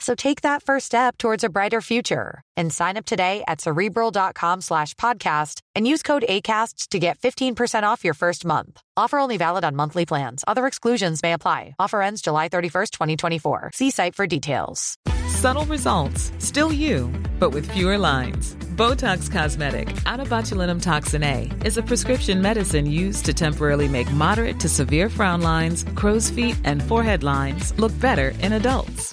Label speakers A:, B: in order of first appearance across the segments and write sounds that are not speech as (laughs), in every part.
A: So take that first step towards a brighter future and sign up today at cerebral.com slash podcast and use code ACAST to get 15% off your first month. Offer only valid on monthly plans. Other exclusions may apply. Offer ends July 31st, 2024. See site for details.
B: Subtle results, still you, but with fewer lines. Botox Cosmetic, out of botulinum toxin A, is a prescription medicine used to temporarily make moderate to severe frown lines, crow's feet, and forehead lines look better in adults.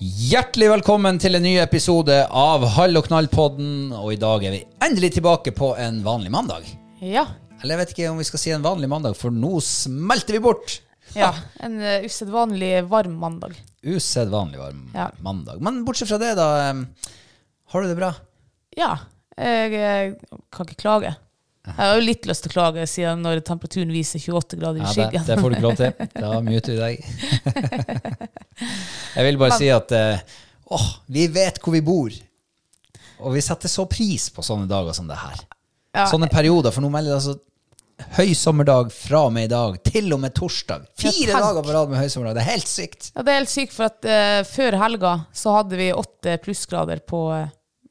C: Hjertelig velkommen til en ny episode av Hall og knall-podden. Og i dag er vi endelig tilbake på en vanlig mandag.
D: Ja.
C: Eller jeg vet ikke om vi skal si en vanlig mandag, for nå smelter vi bort.
D: ja. En uh, usedvanlig varm mandag.
C: Usedvanlig varm
D: Ja.
C: mandag. Men bortsett fra det, da. em, Har du det bra?
D: Ja. Jeg, eh, kan ikke klage. Jeg har jo litt lyst til å klage siden når temperaturen viser 28 grader i
C: det,
D: skyggen.
C: det får du ikke lov til. Da muter vi deg. (laughs) Jeg vil bare si at eh, åh, vi vet hvor vi bor. Og vi setter så pris på sånne dager som det her.
D: (laughs) Ja.
C: Sånne perioder. For nå melder det altså høy sommerdag fra og med i dag til og med torsdag. Fire
D: tenk.
C: dager på rad med høy sommerdag. Det er helt sykt.
D: Ja, det er helt sykt, for at eh, før helga så hadde vi 8 plussgrader på, eh,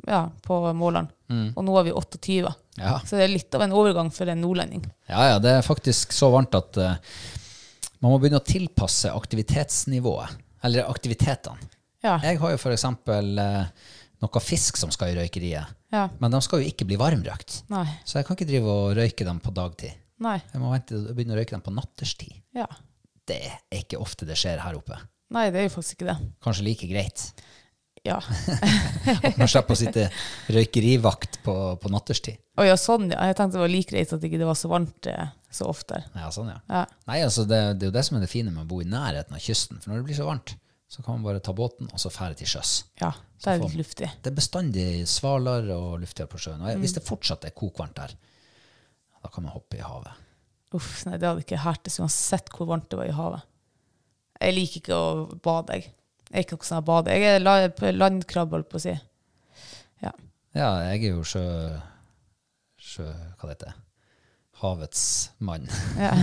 D: ja, på måleren. Og nå er vi 28.
C: Mm. Ja.
D: Så det er litt av en overgang for en nordlending.
C: ja, ja. Det er faktisk så varmt at eh, man må begynne å tilpasse aktivitetsnivået. Eller aktivitetene.
D: Ja.
C: Jeg har jo for eksempel eh, noe fisk som skal i røykeriet.
D: Ja.
C: Men de skal jo ikke bli varmrøkt.
D: Nei.
C: Så jeg kan ikke drive og røyke dem på dagtid.
D: Nei.
C: Jeg må vente og begynne å røyke dem på natterstid.
D: Ja.
C: Det er ikke ofte det skjer her oppe.
D: Nei, det er jo faktisk ikke det.
C: Kanskje like greit.
D: Ja.
C: Man slipper å sitte røykerivakt på, på natterstid.
D: Å ja, sånn, ja. Jeg tenkte det var like greit at ikke det var så varmt eh, så ofte.
C: Ja, sånn, ja.
D: Ja.
C: Nei, altså det, det er jo det som er det fine med å bo i nærheten av kysten. For når det blir så varmt, så kan man bare ta båten og så fære til sjøs.
D: Ja, det er
C: får-
D: litt luftig.
C: Det er bestandig svalere og luftigere på sjøen. Og jeg- hvis det fortsatt er kokvarmt der, da kan man hoppe i havet.
D: Uff, nei, det hadde ikke hertes uansett hvor varmt det var i havet. Jeg liker ikke å bade, jeg. Jeg er ikke noe sånn å bade. Jeg er la- landkrabbe, holdt på å si. Ja.
C: Ja, jeg er jo sjø... sjø hva det heter det? Havets mann.
D: ja.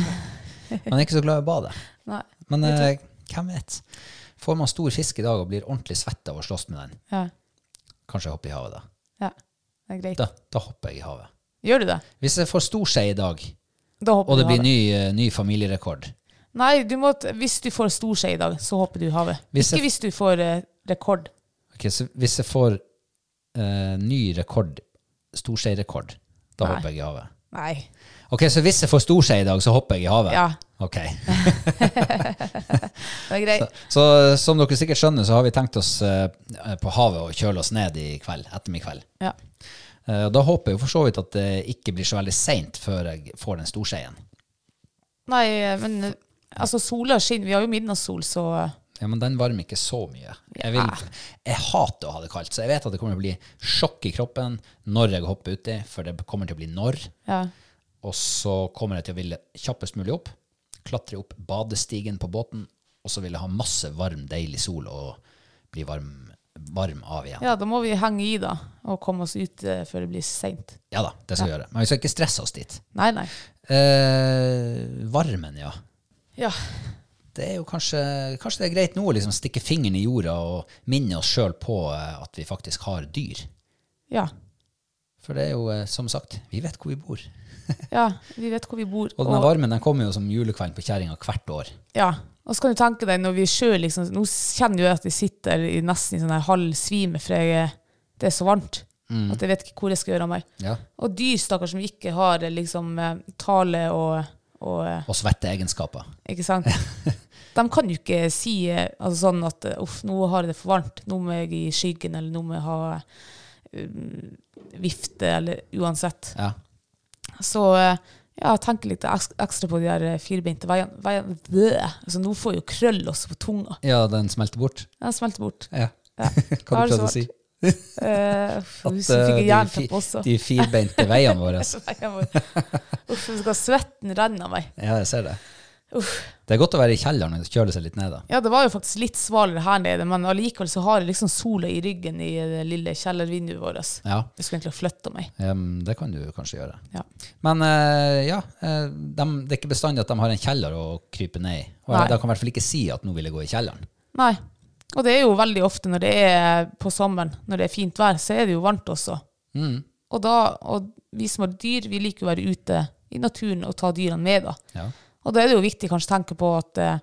D: (laughs)
C: Man er ikke så glad i å bade.
D: Nei.
C: Men eh, hvem vet? Får man stor fisk i dag og blir ordentlig svett av å slåss med den,
D: Ja.
C: kanskje jeg hopper i havet da.
D: ja. Det er greit.
C: Da, da hopper jeg i havet.
D: Gjør du det?
C: Hvis jeg får stor skje i dag,
D: Da hopper
C: og det
D: du i
C: blir
D: havet.
C: ny, eh, ny familierekord
D: Nei, du må, t- hvis du får stor skje i dag, så hopper du i havet.
C: Hvis
D: ikke
C: jeg-
D: hvis du får eh, rekord.
C: Ok, så Hvis jeg får eh, ny rekord, storskeirekord, da
D: Nei.
C: hopper jeg i havet.
D: Nei.
C: Ok, Så hvis jeg får storskei i dag, så hopper jeg i havet?
D: Ja,
C: Ok. (laughs)
D: det er greit.
C: Så som dere sikkert skjønner, så har vi tenkt oss eh, på havet å kjøle oss ned i kveld, ettermiddag i kveld.
D: Ja.
C: Eh, og da håper jeg jo for så vidt at det ikke blir så veldig seint før jeg får den storskeien.
D: Nei, eh, men eh, altså, sola skinner. Vi har jo midnattssol, så eh,
C: Ja, men den varmer ikke så mye. Jeg, vil, jeg hater å ha det kaldt, så jeg vet at det kommer til å bli sjokk i kroppen når jeg hopper uti, for det kommer til å bli når.
D: ja.
C: Og så kommer jeg til å ville kjappest mulig opp, klatre opp badestigen på båten, og så vil jeg ha masse varm, deilig sol og bli varm, varm av igjen. Ja.
D: ja, da må vi henge i, da, og komme oss ut eh, før det blir seint.
C: da, det skal vi gjøre. Men vi skal ikke stresse oss dit.
D: Nei, nei.
C: Eh, varmen, ja.
D: Ja.
C: Det er jo kanskje, kanskje det er greit nå å liksom stikke fingeren i jorda og minne oss sjøl på eh, at vi faktisk har dyr.
D: Ja.
C: For det er jo, eh, som sagt, vi vet hvor vi bor.
D: ja. Vi vet hvor vi bor.
C: Og den varmen den kommer jo som julekvelden på kjerringa hvert år.
D: Ja, og så kan du tenke deg når vi sjøl liksom Nå kjenner jo jeg at jeg sitter i nesten i sånn her halv svime, for jeg, det er så varmt.
C: Mm.
D: At jeg vet ikke hvor jeg skal gjøre av meg.
C: Ja.
D: Og dyr, stakkar, som ikke har eh, liksom eh, tale og, og eh,
C: Og svette egenskaper.
D: Ikke
C: (laughs)
D: sant? De kan jo ikke si eh, altså sånn at eh, uff, nå har jeg det for varmt, nå må jeg i skyggen, eller nå må jeg ha eh, vifte, eller uansett.
C: Ja.
D: Så eh, ja, jeg tenker litt eks- ekstra på de der eh, firbeinte veiene. veiene. Bleh. Altså, nå får jeg jo krøll også på tunga.
C: Ja, den smelter bort.
D: Den smelter bort.
C: Ja.
D: Ja.
C: (laughs) Hva du
D: Har det
C: prøvde
D: så
C: å si?
D: Eh,
C: At
D: Huset
C: eh,
D: fikk jeg
C: de,
D: jernteppe også.
C: fi- de firbeinte veiene våre
D: (laughs) Nei, jeg må- Uff, jeg skal svetten renne av meg.
C: Ja, jeg ser det. Det er godt å være i kjelleren og kjøle seg litt ned, da.
D: Ja, det var jo faktisk litt svalere her nede, men allikevel så har jeg liksom sola i ryggen i det lille kjellervinduet vårt.
C: Ja,
D: Jeg skulle egentlig ha flytta meg.
C: em, det kan du kanskje gjøre.
D: Ja.
C: Men eh, ja, eh, dem- det er ikke bestandig at de har en kjeller å krype ned i. Og
D: Nei.
C: de kan i hvert fall ikke si at nå vil jeg gå i kjelleren.
D: Nei. Og det er jo veldig ofte når det er på sommeren, når det er fint vær, så er det jo varmt også.
C: Mm.
D: Og, da, og vi som har dyr, vi liker jo å være ute i naturen og ta dyrene med, da.
C: Ja.
D: Og da er det jo viktig kanskje å tenke på at eh,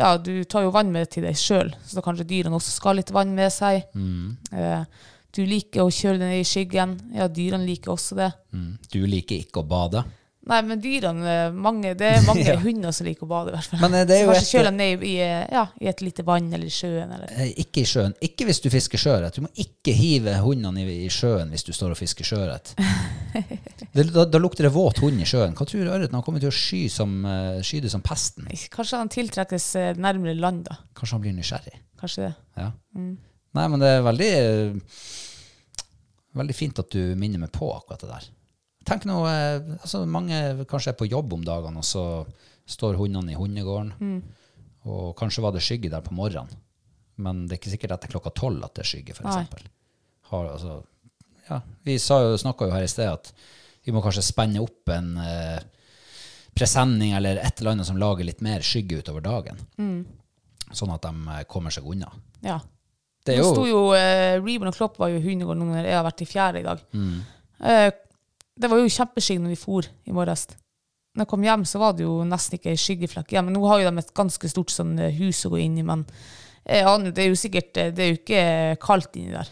D: ja, du tar jo vann med til deg sjøl, så da kanskje dyrene også skal ha litt vann med seg.
C: Mm.
D: Eh, du liker å kjøle deg ned i skyggen. Ja, dyrene liker også det.
C: Mm. Du liker ikke å bade.
D: Nei, men dyrene eh, mange, Det
C: (laughs)
D: er mange hunder som liker å bade, i hvert fall.
C: Men, eh, det er
D: Så
C: jo
D: kanskje
C: et-
D: kjøle dem ned i, i, eh, ja, i et lite vann eller i sjøen. Eller.
C: Eh, Ikke i sjøen. Ikke hvis du fisker sjøørret. Du må ikke hive hundene i, i sjøen hvis du står og fisker sjøørret. Det- Da, da lukter det våt hund i sjøen. Hva tror du ørreten han kommer til å sky, som, eh, sky det som pesten?
D: Kanskje han tiltrekkes eh, nærmere land, da.
C: Kanskje han blir nysgjerrig.
D: Kanskje det.
C: Ja. Nei, men det er veldig eh, Veldig fint at du minner meg på akkurat det der. Tenk nå, eh, altså Mange kanskje er på jobb om dagene, og så står hundene i hundegården. Og kanskje var det skygge der på morgenen, men det er ikke sikkert etter klokka tolv at det er skygge. For
D: Nei.
C: eksempel. har, altså, ja, vi sa jo- snakka jo her i sted at vi må kanskje spenne opp en eh, presenning eller et eller annet som lager litt mer skygge utover dagen, sånn at de eh, kommer seg unna.
D: Ja.
C: Det er
D: Nå sto
C: jo
D: jo eh, Rebound og Klopp var jo i hundegården nå når jeg har vært i fjerde i dag.
C: Mm.
D: Eh, det var jo kjempeskygg når vi for i morges. Når jeg kom hjem, så var det jo nesten ikke ei skyggeflekk igjen. Men nå har jo de et ganske stort sånn eh, hus å gå inn i, men jeg aner, det er jo sikkert eh, Det er jo ikke kaldt inni der.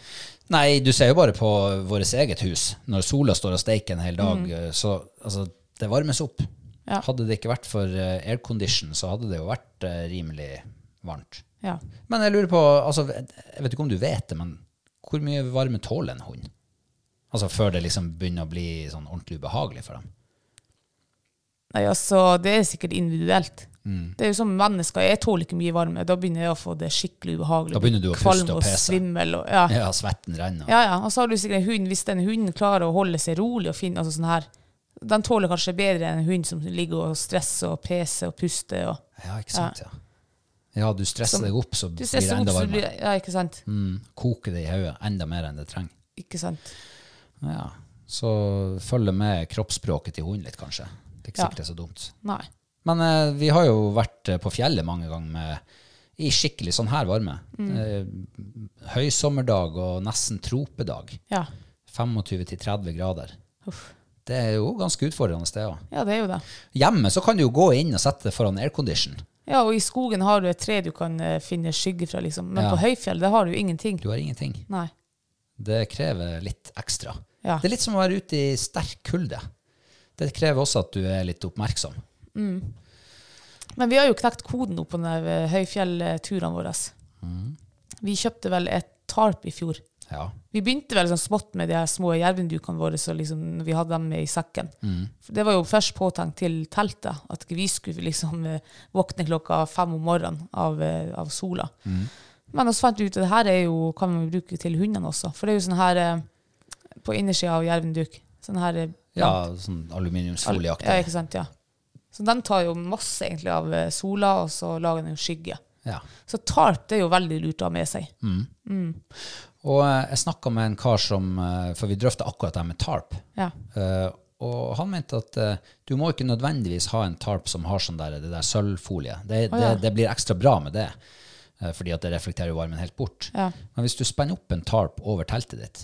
C: Nei, du ser jo bare på vårt eget hus. Når sola står og steiker en hel dag, eh, så altså, det varmes opp.
D: Mm. Ja.
C: Hadde det ikke vært for eh, aircondition, så hadde det jo vært eh, rimelig varmt.
D: Ja.
C: Men jeg lurer på, altså, jeg vet ikke om du vet det, men hvor mye varme tåler en hund? Altså før det liksom begynner å bli sånn ordentlig ubehagelig for dem.
D: Nei, altså, det er sikkert individuelt.
C: Mm.
D: Det er jo som mennesker. Jeg tåler ikke mye varme. Da begynner jeg å få det skikkelig ubehagelig.
C: Da begynner du å
D: Kvalm
C: puste og pese.
D: svimmel og ja.
C: Ja, svetten renner.
D: Ja, ja. Og så har du sikkert en hund, hvis den hunden klarer å holde seg rolig og fin, altså sånn her, den tåler kanskje bedre enn en hund som ligger og stresser og peser og puster. Og,
C: Ja, ikke sant, ja. Ja, du stresser deg opp, så
D: du
C: blir det
D: stresser opp,
C: enda
D: så blir
C: varmere.
D: Ja, ikke sant?
C: Mm, koker det i hodet enda mer enn det trenger.
D: Ikke sant?
C: Ja, så følge med kroppsspråket til hunden litt, kanskje. Det er ikke
D: Ja.
C: sikkert det er så dumt.
D: Nei.
C: Men eh, vi har jo vært eh, på fjellet mange ganger med, i skikkelig
D: Mm.
C: sånn her varme. Eh, høysommerdag og nesten tropedag.
D: Ja.
C: 25 til 30 grader. Det er jo ganske utfordrende steder.
D: Ja, det er jo det.
C: Hjemme så kan du jo gå inn og sette det foran aircondition.
D: Ja, og i skogen har du et tre du kan eh, finne skygge fra, liksom. Men
C: Ja.
D: på høyfjell, det har du jo ingenting.
C: Du har ingenting.
D: Nei.
C: Det krever litt ekstra.
D: Ja.
C: Det er litt som å være ute i sterk kulde. Det krever også at du er litt oppmerksom.
D: Men vi har jo knekt koden opp på den der, eh, høyfjellturene våre.
C: Mm.
D: Vi kjøpte vel et tarp i fjor.
C: Ja.
D: Vi begynte vel sånn smått med de her små jervendukene våre, så liksom, når vi hadde dem med i sekken.
C: Mm.
D: For Det var jo først påtenkt til teltet, at ikke vi skulle liksom eh, våkne klokka fem om morgenen av, eh, av sola.
C: Mm.
D: Men så fant vi ut at det her er jo, kan man bruke til hundene også. For det er jo sånn her eh, på innersida av jervenduk. Sånn her eh,
C: ja sånn aluminiumsfolieaktig.
D: Ja, ikke sant, ja. Så den tar jo masse egentlig av eh, sola, og så lager den jo skygge.
C: Ja.
D: Så tarp det er jo veldig lurt å ha med seg.
C: Mm. Og eh, jeg snakka med en kar som eh, For vi drøfta akkurat det her med tarp.
D: Ja.
C: Eh, og han mente at eh, du må ikke nødvendigvis ha en tarp som har sånn der, det der sølvfolie. Det,
D: Å, ja.
C: det, det blir ekstra bra med det, eh, fordi at det reflekterer jo varmen helt bort.
D: Ja.
C: Men hvis du spenner opp en tarp over teltet ditt,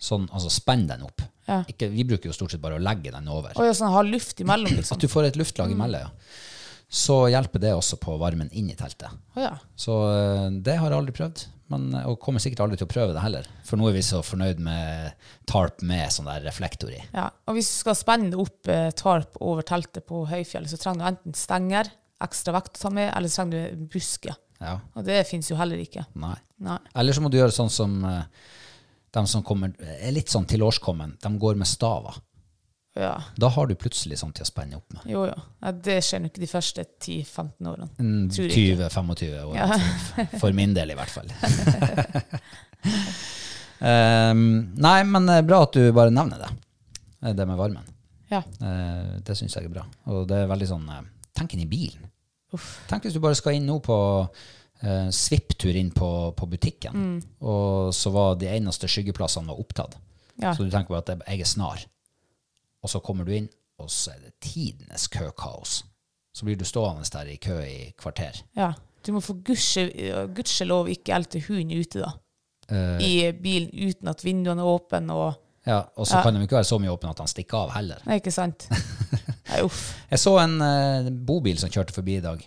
C: sånn, altså spenn den opp
D: Ja.
C: ikke, Vi bruker jo stort sett bare å legge den over.
D: Og ja, sånn ha luft imellom,
C: At
D: liksom.
C: du får et luftlag imellom, ja. Så hjelper det også på varmen inn i teltet.
D: Å ja.
C: Så eh, det har jeg aldri prøvd, men, eh, og kommer sikkert aldri til å prøve det heller. For nå er vi så fornøyd med tarp med sånn der reflektor i.
D: ja. Og hvis du skal spenne opp eh, tarp over teltet på høyfjell, så trenger du enten stenger, ekstra vekt å ta med, eller så trenger du busker.
C: Ja,
D: Og det fins jo heller ikke.
C: nei.
D: Nei.
C: Eller så må du gjøre sånn som eh, de som kommer, er litt sånn tilårskommen. De går med staver.
D: Ja.
C: Da har du plutselig sånn til å spenne opp med.
D: Jo, jo. Ja, det skjer nå ikke de første 10-15 årene.
C: Mm,
D: Tror jeg ikke.
C: 20-25 år. altså. For min del, i hvert
D: (laughs)
C: fall. (laughs) Em, nei, men eh, bra at du bare nevner det. Eh, Det med varmen.
D: Ja.
C: Eh, det syns jeg er bra. Og det er veldig sånn eh, Tenk inn i bilen. Tenk hvis du bare skal inn nå på eh, svipptur inn på, på butikken, og så var de eneste skyggeplassene var opptatt.
D: Ja.
C: Så du tenker bare at det- jeg er snar. Og så kommer du inn, og så er det tidenes køkaos. Så blir du stående der i kø i kvarter.
D: ja. Du må for gudskjelov guds lov ikke elte hunden ute, da. I bilen uten at vinduene er åpne og
C: Eh, Ja, og så kan de ikke være så mye åpne at han stikker av heller.
D: Nei, ikke sant? Nei, uff.
C: Jeg så en eh, bobil som kjørte forbi i dag.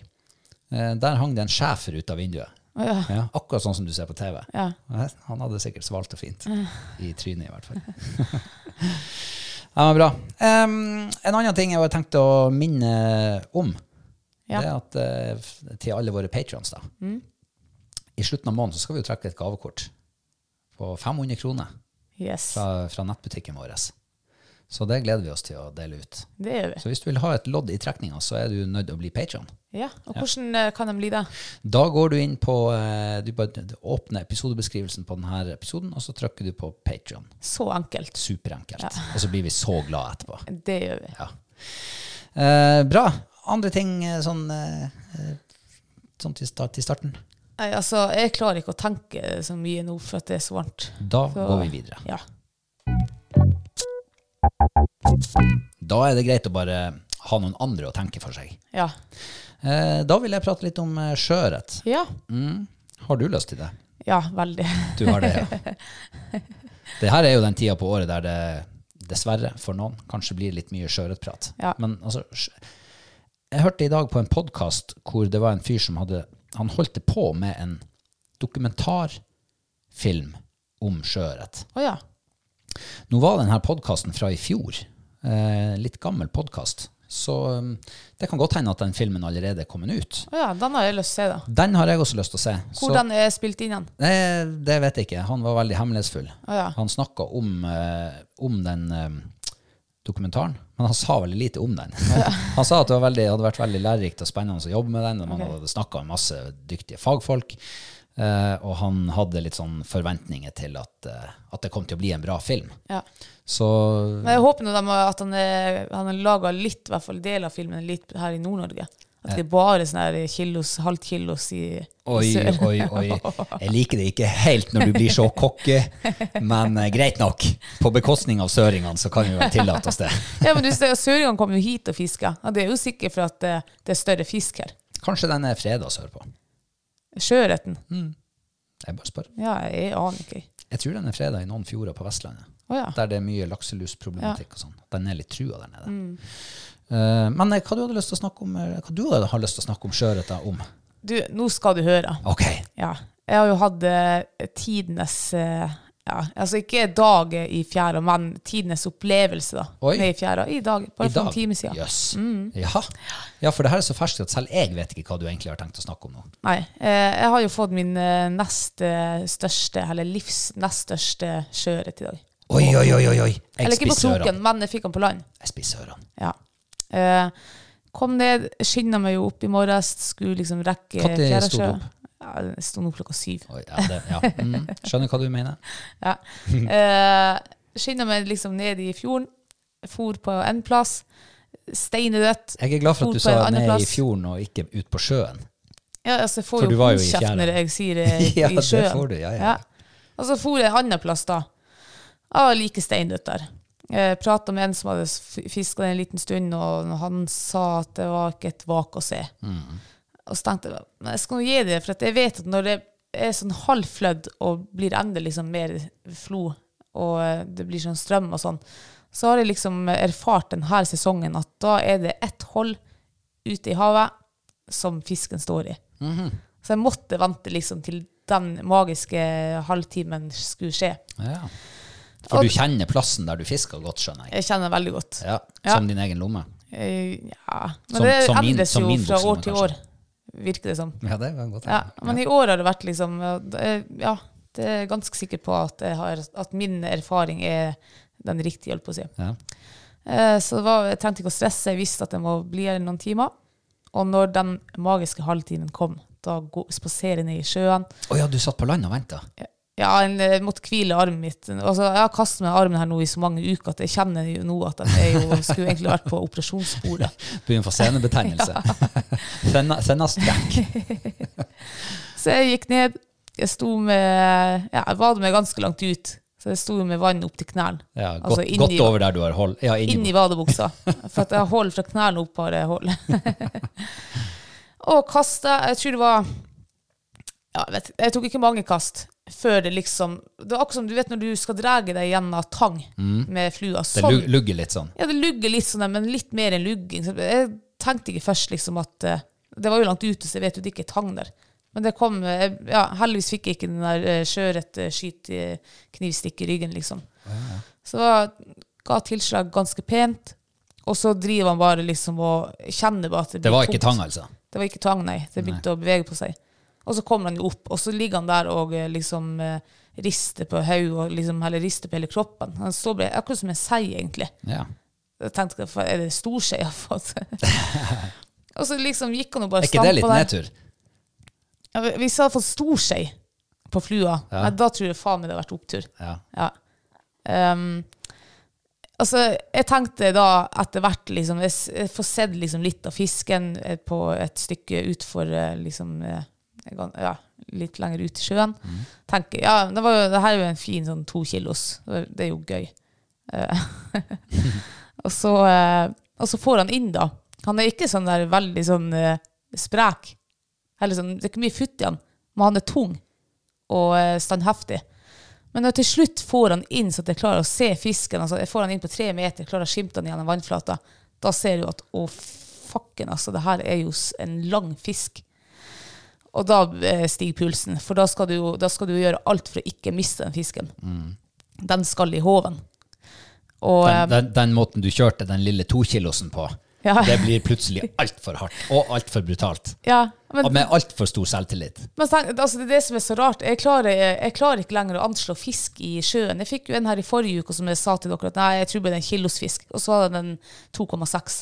C: Eh, der hang det en schæfer ut av vinduet.
D: Ja.
C: Ja, akkurat sånn som du ser på TV.
D: Ja.
C: Eh, Han hadde sikkert svalt og fint. I trynet, i hvert fall. (laughs) ja, men bra. Em, en annen ting jeg har tenkt å minne om,
D: Ja. Mm.
C: det er at eh, f- til alle våre patrons da, i slutten av måneden så skal vi jo trekke et gavekort på 500 kroner
D: Yes.
C: fra, fra nettbutikken vår. Så det gleder vi oss til å dele ut.
D: Det gjør vi.
C: Så hvis du vil ha et lodd i trekninga, så er du nødt til å bli patron.
D: Ja. Og hvordan eh, kan de bli det?
C: Da går du inn på eh, Du bare d- åpner episodebeskrivelsen på denne episoden, og så trykker du på Patron.
D: Så enkelt.
C: Superenkelt. Og så blir vi så glad etterpå.
D: Det gjør vi.
C: Ja. Eh, bra. Andre ting eh, sånn, eh, eh, sånn til, start, til starten?
D: Nei, altså, jeg klarer ikke å tenke så mye nå for at det er så varmt.
C: Da
D: Så,
C: går vi videre.
D: Ja.
C: Da er det greit å bare ha noen andre å tenke for seg.
D: Ja.
C: Eh, da vil jeg prate litt om eh, sjøørret.
D: Ja.
C: Mm. Har du lyst til det?
D: ja, veldig.
C: Du har det, ja.
D: (laughs)
C: Det her er jo den tida på året der det dessverre for noen kanskje blir litt mye sjøørretprat.
D: Ja.
C: Men altså sj- Jeg hørte i dag på en podkast hvor det var en fyr som hadde Han holdt det på med en dokumentarfilm om sjøørret.
D: Å ja.
C: Nå var denne podkasten fra i fjor. Eh, litt gammel podkast. Så um, det kan godt hende at den filmen allerede er kommet ut.
D: Å ja. Den har jeg lyst til å se, da.
C: Den har jeg også lyst til å se. Så-
D: Hvordan er spilt inn den?
C: Nei, det vet jeg ikke. Han var veldig hemmelighetsfull.
D: Å ja.
C: Han snakka om, eh, om den eh, dokumentaren, men han sa veldig lite om den. (laughs) han sa at det var veldig, hadde vært veldig lærerikt og spennende å jobbe med den, og man
D: Ok.
C: hadde snakka med masse dyktige fagfolk. eh, og han hadde litt sånn forventninger til at, eh, at det kom til å bli en bra film.
D: Ja.
C: Så
D: Men jeg håper nå de har- at han, er, han har laga litt, i hvert fall del av filmen, litt her i Nord-Norge. At det er bare sånn her kilos, halvt kilos i, i
C: Oi,
D: sør.
C: oi, oi. Jeg liker det ikke helt når du blir så
D: (laughs)
C: kokke, men eh, greit nok. På bekostning av søringene så kan vi vel tillate oss det.
D: Ja, men du ser, Søringene kommer jo hit og fisker. Ja, det er jo sikkert for at det, det er større fisk her.
C: Kanskje den er freda sørpå.
D: Sjøørreten?
C: Jeg bare spør.
D: Ja, jeg aner ikke.
C: Jeg tror den er freda i noen fjorder på Vestlandet.
D: Å ja.
C: der det er mye lakselusproblematikk og sånn. Den er litt trua der nede.
D: Mm.
C: Eh, men eh, hva du hadde lyst til å snakke om, eh, hva du hadde har lyst til å snakke om sjøørreta om?
D: Du, nå skal du høre.
C: Ok.
D: Ja. Jeg har jo hatt eh, tidenes eh, ja, Altså ikke dag i fjæra, men tidenes opplevelse da,
C: Oi.
D: nede i fjæra. I dag, bare for en time siden. Mm.
C: Jøss. Ja. ja, for det her er så ferskt at selv jeg vet ikke hva du egentlig har tenkt å snakke om nå.
D: Nei. Eh, jeg har jo fått min eh, nest eh, største, eller livs nest største sjøørret i dag.
C: Oi, oi, oi, oi. oi. Jeg
D: Eller ikke på
C: spiser
D: kroken,
C: ørene.
D: men jeg fikk den på land.
C: Jeg spiser ørene.
D: Ja. Eh, kom ned, skynda meg jo opp i morges, skulle liksom rekke
C: Når
D: fjæra
C: sto du
D: sjø.
C: opp?
D: Ja, jeg sto opp klokka syv.
C: Oi, ja, det, ja. Mm. Skjønner hva du mener.
D: Ja. Eh, skynda meg liksom ned i fjorden, for på en plass, steinedødt.
C: Jeg er glad for at
D: for
C: du
D: på en
C: sa
D: annen
C: ned i
D: plass.
C: fjorden og ikke ut på sjøen.
D: Ja, altså, jeg får
C: For du
D: jo
C: var jo i
D: hodekjeft
C: fjæra.
D: når jeg sier eh,
C: (laughs) Ja,
D: i
C: det
D: sjøen.
C: får du, ja, ja.
D: Og så for jeg en annen plass da. Jeg var like steindødt der. Jeg pratet med en som hadde fisket en liten stund, og han sa at det var ikke et vak å se.
C: Mm.
D: Og så tenkte jeg, men jeg skal nå gi det, for at jeg vet at når det er sånn halvflødd, og blir enda liksom mer flo, og eh, det blir sånn strøm og sånn, så har jeg liksom erfart denne sesongen at da er det ett hold ute i havet som fisken står i. Så jeg måtte vente liksom til den magiske halvtimen skulle skje.
C: Ja. For du kjenner plassen der du fisker godt, skjønner jeg.
D: Jeg kjenner den veldig godt.
C: Ja,
D: Ja.
C: Som din egen lomme.
D: Eh, ja. Men
C: Som-
D: det
C: som min-
D: endres
C: som
D: jo
C: min
D: fra
C: bokselomme,
D: år til
C: kanskje.
D: år, virker det som.
C: Ja, det kan godt
D: Ja, men i år har det vært liksom eh, Ja, det er jeg ganske sikker på at, jeg har, at min erfaring er den riktige, holdt på å si.
C: Ja.
D: Eh, Så det var, jeg trengte ikke å stresse, jeg visste at jeg må bli her noen timer. Og når den magiske halvtimen kom, da gå- spaserer jeg ned i sjøen.
C: Å ja, du satt på land og venta?
D: Ja, en, eh, jeg måtte hvile armen mitt. Altså, jeg har kastet meg armen her nå i så mange uker at jeg kjenner jo nå at jeg er jo, skulle egentlig vært på
C: (laughs)
D: operasjonsbordet.
C: Begynner å få (laughs) senebetegnelse. Senna- Sennastrekk.
D: Så jeg gikk ned. Jeg sto med Ja, jeg badet meg ganske langt ut. Så jeg sto med vann opp til knærne.
C: Ja, godt,
D: Altså, inn
C: godt
D: i-
C: over der du har hold. Ja, inn i-
D: Inni vadebuksa. For at jeg holder fra knærne opp bare jeg holder. (laughs) og kastet Jeg tror det var ja, jeg vet, Jeg tok ikke mange kast før det liksom Det var akkurat som du vet når du skal dra deg gjennom tang med flua.
C: Mm. Det
D: Sånn
C: lug- lugger litt sånn.
D: Ja, det lugger litt sånn, der, men litt mer enn lugging. Så Jeg tenkte ikke først liksom at eh, Det var jo langt ute, så jeg vet jo det ikke er tang der. Men det kom eh, Ja, heldigvis fikk jeg ikke den der eh, sjøørret eh, skyt eh, knivstikk i ryggen, liksom. Så det var, ga tilslag ganske pent. Og så driver han bare liksom og kjenner bare at det
C: Det
D: blir
C: var ikke
D: tungt.
C: tang, altså.
D: Det var ikke tang, nei. Det begynte å bevege på seg. Og så kommer han jo opp, og så ligger han der og eh, liksom eh, rister på hodet og liksom, eller rister på hele kroppen. Han står bare, akkurat som en sei, egentlig.
C: Ja.
D: Jeg tenkte, "Hva er det stor skje jeg har
C: (laughs)
D: fått? og så liksom gikk han og bare
C: Er ikke det litt
D: stampa der.
C: nedtur?
D: Ja, vi- hvis jeg hadde fått stor skje på flua, nei, da tror jeg faen meg det hadde vært opptur.
C: Ja.
D: Ja. Ehm, altså, jeg tenkte da etter hvert liksom, jeg, s- jeg får sett liksom litt av fisken eh, på et stykke utfor eh, liksom, eh, gan- ja, litt lenger ut i sjøen.
C: Mm.
D: Tenker, ja, det, var jo, det her er jo en fin sånn to kilos. Det er- Det er jo gøy. Eh, og, så, eh, og så får han inn da. Han er ikke sånn der veldig sånn eh, sprek. Eller sånn, det er ikke mye futt i han, men han er tung og eh, standheftig. Men når jeg til slutt får han inn, så at jeg klarer å se fisken, altså jeg får han inn på tre meter, klarer å skimte han gjennom vannflata, da ser du at å, fucken, altså, det her er jo s- en lang fisk. Og da eh, stiger pulsen, for da skal, du, jo- da skal du gjøre alt for å ikke miste den fisken. Den skal i hoven. Og,
C: Mm. Den,
D: eh,
C: den, den måten du kjørte den lille tokilosen på,
D: Ja.
C: det blir plutselig altfor hardt og altfor brutalt.
D: ja, men,
C: Og med altfor stor selvtillit.
D: Men tenk, altså det er det som er så rart. Jeg klarer, jeg klarer ikke lenger å anslå fisk i sjøen. Jeg fikk jo en her i forrige uke som jeg sa til dere at nei, jeg tror bare det er en kilos fisk. Og så hadde den 2,6.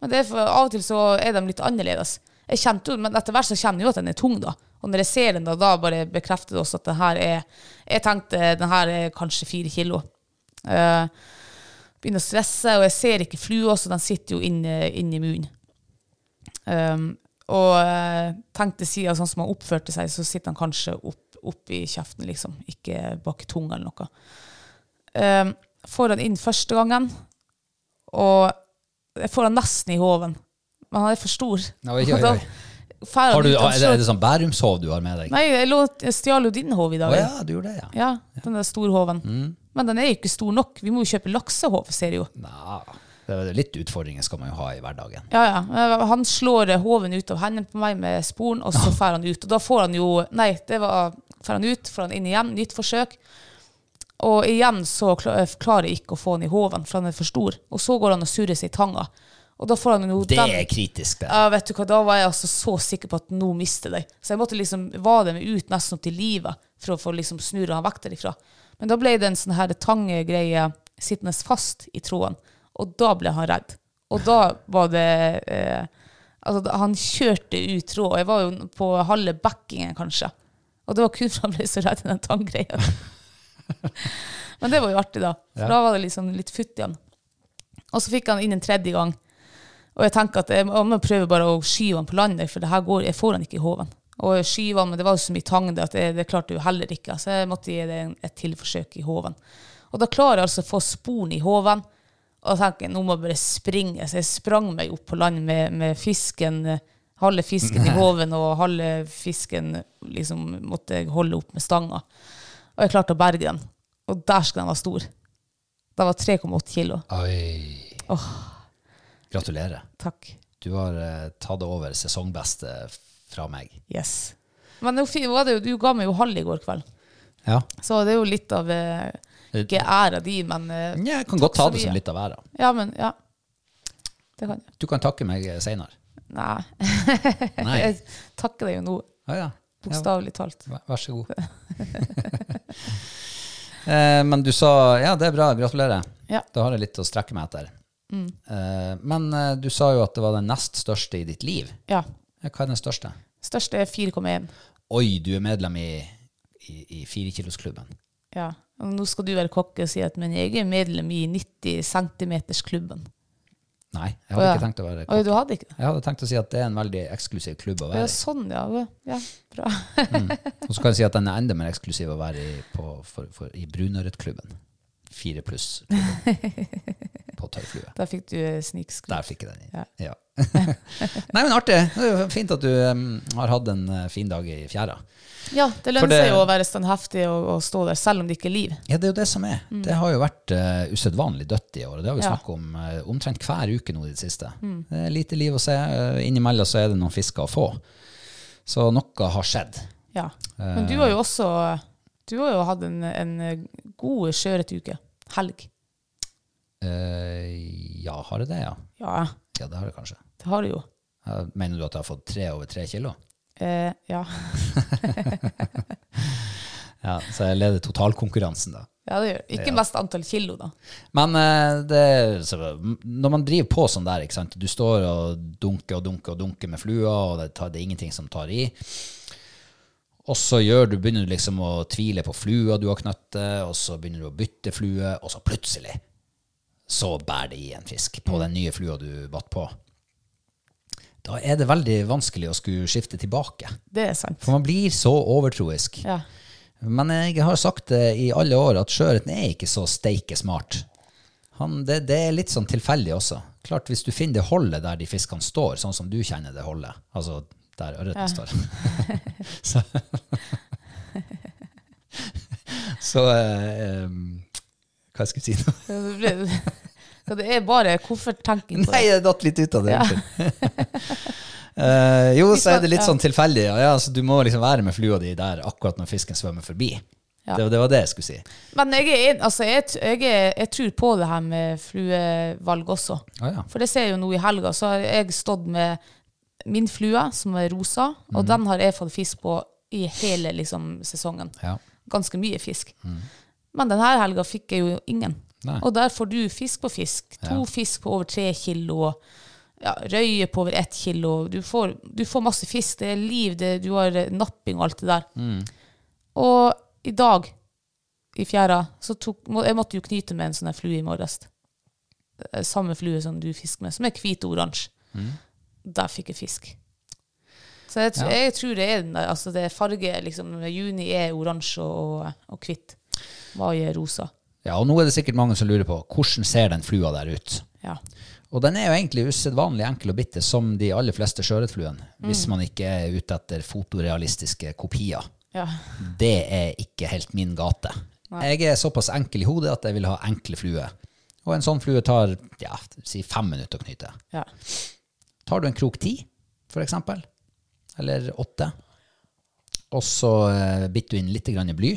D: Men det er for, av og til så er de litt annerledes. Jeg kjente jo, men etter hvert så kjenner jeg jo at den er tung, da. Og når jeg ser den, da, da bare bekrefter det også at den her er Jeg tenkte den her er kanskje fire kilo. Eh, begynner å stresse, og jeg ser ikke flua, så den sitter jo inne, inne i munnen. Um, og eh, tenkte siden sånn som han oppførte seg, så sitter han kanskje opp, opp i kjeften, liksom. Ikke bak i tunga eller noe. Um, får han inn første gangen, og jeg får han nesten i hoven. Men han er for stor.
C: Oi, oi, oi.
D: Og (laughs) Da, færa
C: Har du,
D: dit, og
C: er, det,
D: så-
C: er det sånn Bærumshov du har med deg?
D: Nei, jeg, lå, jeg stjal jo din håv i
C: Å
D: dag.
C: ja, du gjorde det, ja. Mm.
D: Ja, den der storhoven. Men den er jo ikke stor nok. Vi må jo kjøpe laksehov, ser jeg jo.
C: Nja, det er litt utfordringer skal man jo ha i hverdagen.
D: Ja, ja. Eh, Han slår eh, hoven ut av hendene på meg med sporen, og så drar han ut. Og da får han jo Nei, det var Drar han ut, får han inn igjen, nytt forsøk. Og igjen så kla- eh, klarer jeg ikke å få han i hoven, for han er for stor. Og så går han og surrer seg i tanga. Og da får han jo
C: Det
D: den-
C: er kritisk, det.
D: Ja, vet du hva, da var jeg altså så sikker på at nå mister jeg deg. Så jeg måtte liksom vade meg ut nesten opp til livet for å få liksom snurre han vekk derifra. Men da ble det en sånn her tangegreie sittende fast i tråden, og da ble han redd. Og da var det eh, Altså, da- han kjørte ut tråd, og jeg var jo på halve backingen, kanskje. Og det var kun for han ble så redd i den tanggreia. Men det var jo artig, da. For da var det liksom litt futt igjen. Og så fikk han inn en tredje gang. Og jeg tenker at jeg må- jeg må prøve bare å skyve han på landet, for det her går, jeg får han ikke i hoven. Og jeg skyver han, men det var jo så mye tang det at jeg, det klarte jeg jo heller ikke. Så jeg måtte gi det en- et til forsøk i hoven. Og da klarer jeg altså å få sporen i hoven, og tenker jeg, nå må jeg bare springe. Så jeg sprang meg opp på land med, med fisken, eh, halve fisken i hoven, og halve fisken liksom måtte jeg holde opp med stanga. Og jeg klarte å berge den. Og der skal den være stor. Den var 3,8 kilo.
C: Oi. Gratulerer.
D: Takk.
C: Du har eh, tatt over sesongbeste fra meg.
D: Yes. Men nå fi- var det jo, du ga meg jo halv i går kveld,
C: Ja.
D: så det er jo litt av eh, Ikke æra di, men eh,
C: Jeg kan godt ta
D: så
C: det
D: mye.
C: som litt av æra.
D: Ja, men ja. Det kan jeg.
C: Du kan takke meg (laughs) seinere.
D: Nei.
C: Nei.
D: (laughs) jeg takker deg jo nå,
C: Ah, ja. Ja,
D: bokstavelig talt.
C: vær- vær så (laughs) god. eh, men du sa Ja, det er bra. Gratulerer.
D: Ja.
C: Da har jeg litt å strekke meg etter. Eh, men eh, du sa jo at det var den nest største i ditt liv.
D: Ja.
C: Ja, Hva er den største?
D: Største er 4,1.
C: Oi, du er medlem i, i, i firekilosklubben.
D: Ja. Og nå skal du være kokk og si at men jeg er medlem i 90 cm-klubben.
C: Nei, jeg hadde ikke tenkt å være
D: Oi, du hadde ikke det?
C: Jeg hadde tenkt å si at det er en veldig eksklusiv klubb å
D: Ja,
C: være i.
D: sånn, ja. ja bra.
C: Og så kan jeg si at den er enda mer eksklusiv å være i, på, for, for, i Brunørretklubben. Fire
D: (laughs)
C: pluss på tørrflue.
D: Der fikk du eh, snikskryt.
C: Der fikk jeg den inn.
D: Ja.
C: Ja. (laughs) Nei, men artig. Det er jo fint at du em, har hatt en eh, fin dag i fjæra.
D: Ja, det
C: For
D: lønner
C: det-
D: seg jo å være standhaftig og, og stå der, selv om det ikke er liv.
C: Ja, det er jo det som er. Det har jo vært eh, usedvanlig dødt i år. og Det har vi
D: Mm. Ja. Mm.
C: snakket om eh, omtrent hver uke nå i det siste. Det er lite liv å se. eh, Innimellom så er det noen fisker å få. Så noe har skjedd.
D: Ja. Men
C: Eh.
D: du har jo også Du har jo hatt en, en god sjøørretuke. Helg.
C: Eh, ja, har det det, ja?
D: Ja,
C: Ja, det har det kanskje.
D: det har du jo.
C: Eh, Mener du at jeg har fått tre over tre kilo?
D: Eh, ja.
C: Ja, så jeg leder totalkonkurransen da.
D: ja, det gjør Ikke mest antall kilo, da.
C: Men eh, det, er- så, når man driver på sånn der, ikke sant? du står og dunker og dunker og dunker med flua, og det, tar, det er ingenting som tar i, og så gjør du, begynner du liksom å tvile på flua du har knøttet, og så begynner du å bytte flue, og så plutselig så bærer det i en fisk på den nye flua du batt på. Da er det veldig vanskelig å skulle skifte tilbake.
D: Det er sant.
C: For man blir så overtroisk.
D: Ja.
C: Men jeg har sagt det i alle år at sjøørreten er ikke så steike smart. Han, det, det er litt sånn tilfeldig også. Klart Hvis du finner det holdet der de fiskene står, sånn som du kjenner det holdet, altså der ørreten står Så, (laughs) så eh, em, Hva skal jeg si nå?
D: Så det ble- (laughs) så det er bare kofferttenking på
C: Nei,
D: det.
C: jeg datt litt ut av det. unnskyld. (laughs) Eh, jo, så er det litt
D: Ja.
C: sånn tilfeldig. Ja, ja, så du må liksom være med flua di der akkurat når fisken svømmer forbi.
D: Ja.
C: Det, det var det jeg skulle si.
D: Men jeg, er, en- altså, jeg, t- jeg, er, jeg tror på det her med fluevalg også.
C: Å ja.
D: For det ser jeg jo nå i helga, så har jeg stått med min flue, som er rosa,
C: Mm.
D: og den har jeg fått fisk på i hele liksom, sesongen.
C: Ja.
D: ganske mye fisk. Men denne helga fikk jeg jo ingen.
C: Nei.
D: Og der får du fisk på fisk. To fisk på over tre kilo. Ja, røye på over ett kilo. Du får, du får masse fisk. Det er liv, det, du har eh, napping og alt det der. Og i dag, i fjæra, så tok må, Jeg måtte jo knyte med en sånn her flue i morges. Eh, Samme flue som du fisker med, som er hvit og oransje. Der fikk jeg fisk. Så jeg, tr- jeg tror det er den der. Altså det er farge liksom, Juni er oransje og, og hvitt. Mai er rosa.
C: Ja, og nå er det sikkert mange som lurer på hvordan ser den flua der ut?
D: Ja.
C: Og den er jo egentlig usedvanlig enkel og bitte, som de aller fleste sjøørretfluene, hvis man ikke er ute etter fotorealistiske kopier.
D: Ja.
C: Det er ikke helt min gate. Jeg er såpass enkel i hodet at jeg vil ha enkle fluer. Og en sånn flue tar ja, si fem minutter å knyte.
D: ja.
C: Tar du en krok ti, for eksempel, eller åtte, og så eh, bitter du inn litt grann bly,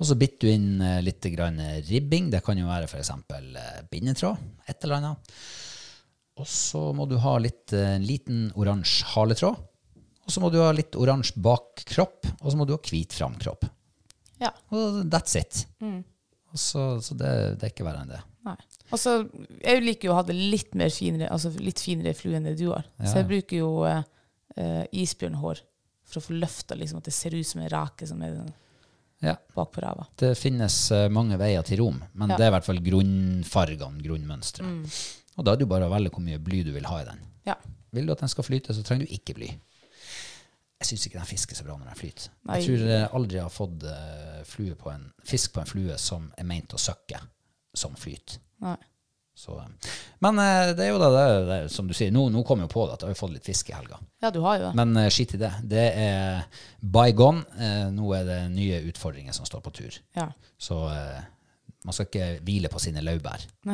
C: og så bitter du inn eh, litt grann ribbing, det kan jo være for eksempel eh, bindetråd, et eller annet. Og så må du ha litt, eh, en liten oransje haletråd, og så må du ha litt oransje bak kropp, og så må du ha hvit fram kropp.
D: ja.
C: Og that's it. Og så, så det, det er ikke verre enn det.
D: Nei. Altså, jeg liker jo å ha det litt mer finere, altså litt finere flue enn det du har. Så jeg bruker jo eh, eh, isbjørnhår for å få løfta liksom, at det ser ut som en rake som er den
C: Ja.
D: bak på ræva.
C: Det finnes eh, mange veier til Rom, men
D: Ja. Mm.
C: det er i hvert fall grunnfargene, grunnmønstret. Og da er det jo bare å velge hvor mye bly du vil ha i den.
D: Ja.
C: Vil du at den skal flyte, så trenger du ikke bly. Jeg syns ikke den fisker så bra når den flyter.
D: Nei.
C: Jeg tror jeg aldri jeg har fått eh, flue på en, fisk på en flue som er meint å søkke, som flyter.
D: Nei.
C: Så, eh, men eh, det er jo da det, det er, som du sier, nå, nå kom jeg jo på det, at jeg har jo fått litt fisk i helga.
D: ja, du har jo det.
C: Men eh, skit i det. Det er bygone. Eh, nå er det nye utfordringer som står på tur.
D: Ja.
C: Så eh, man skal ikke hvile på sine laurbær. (laughs)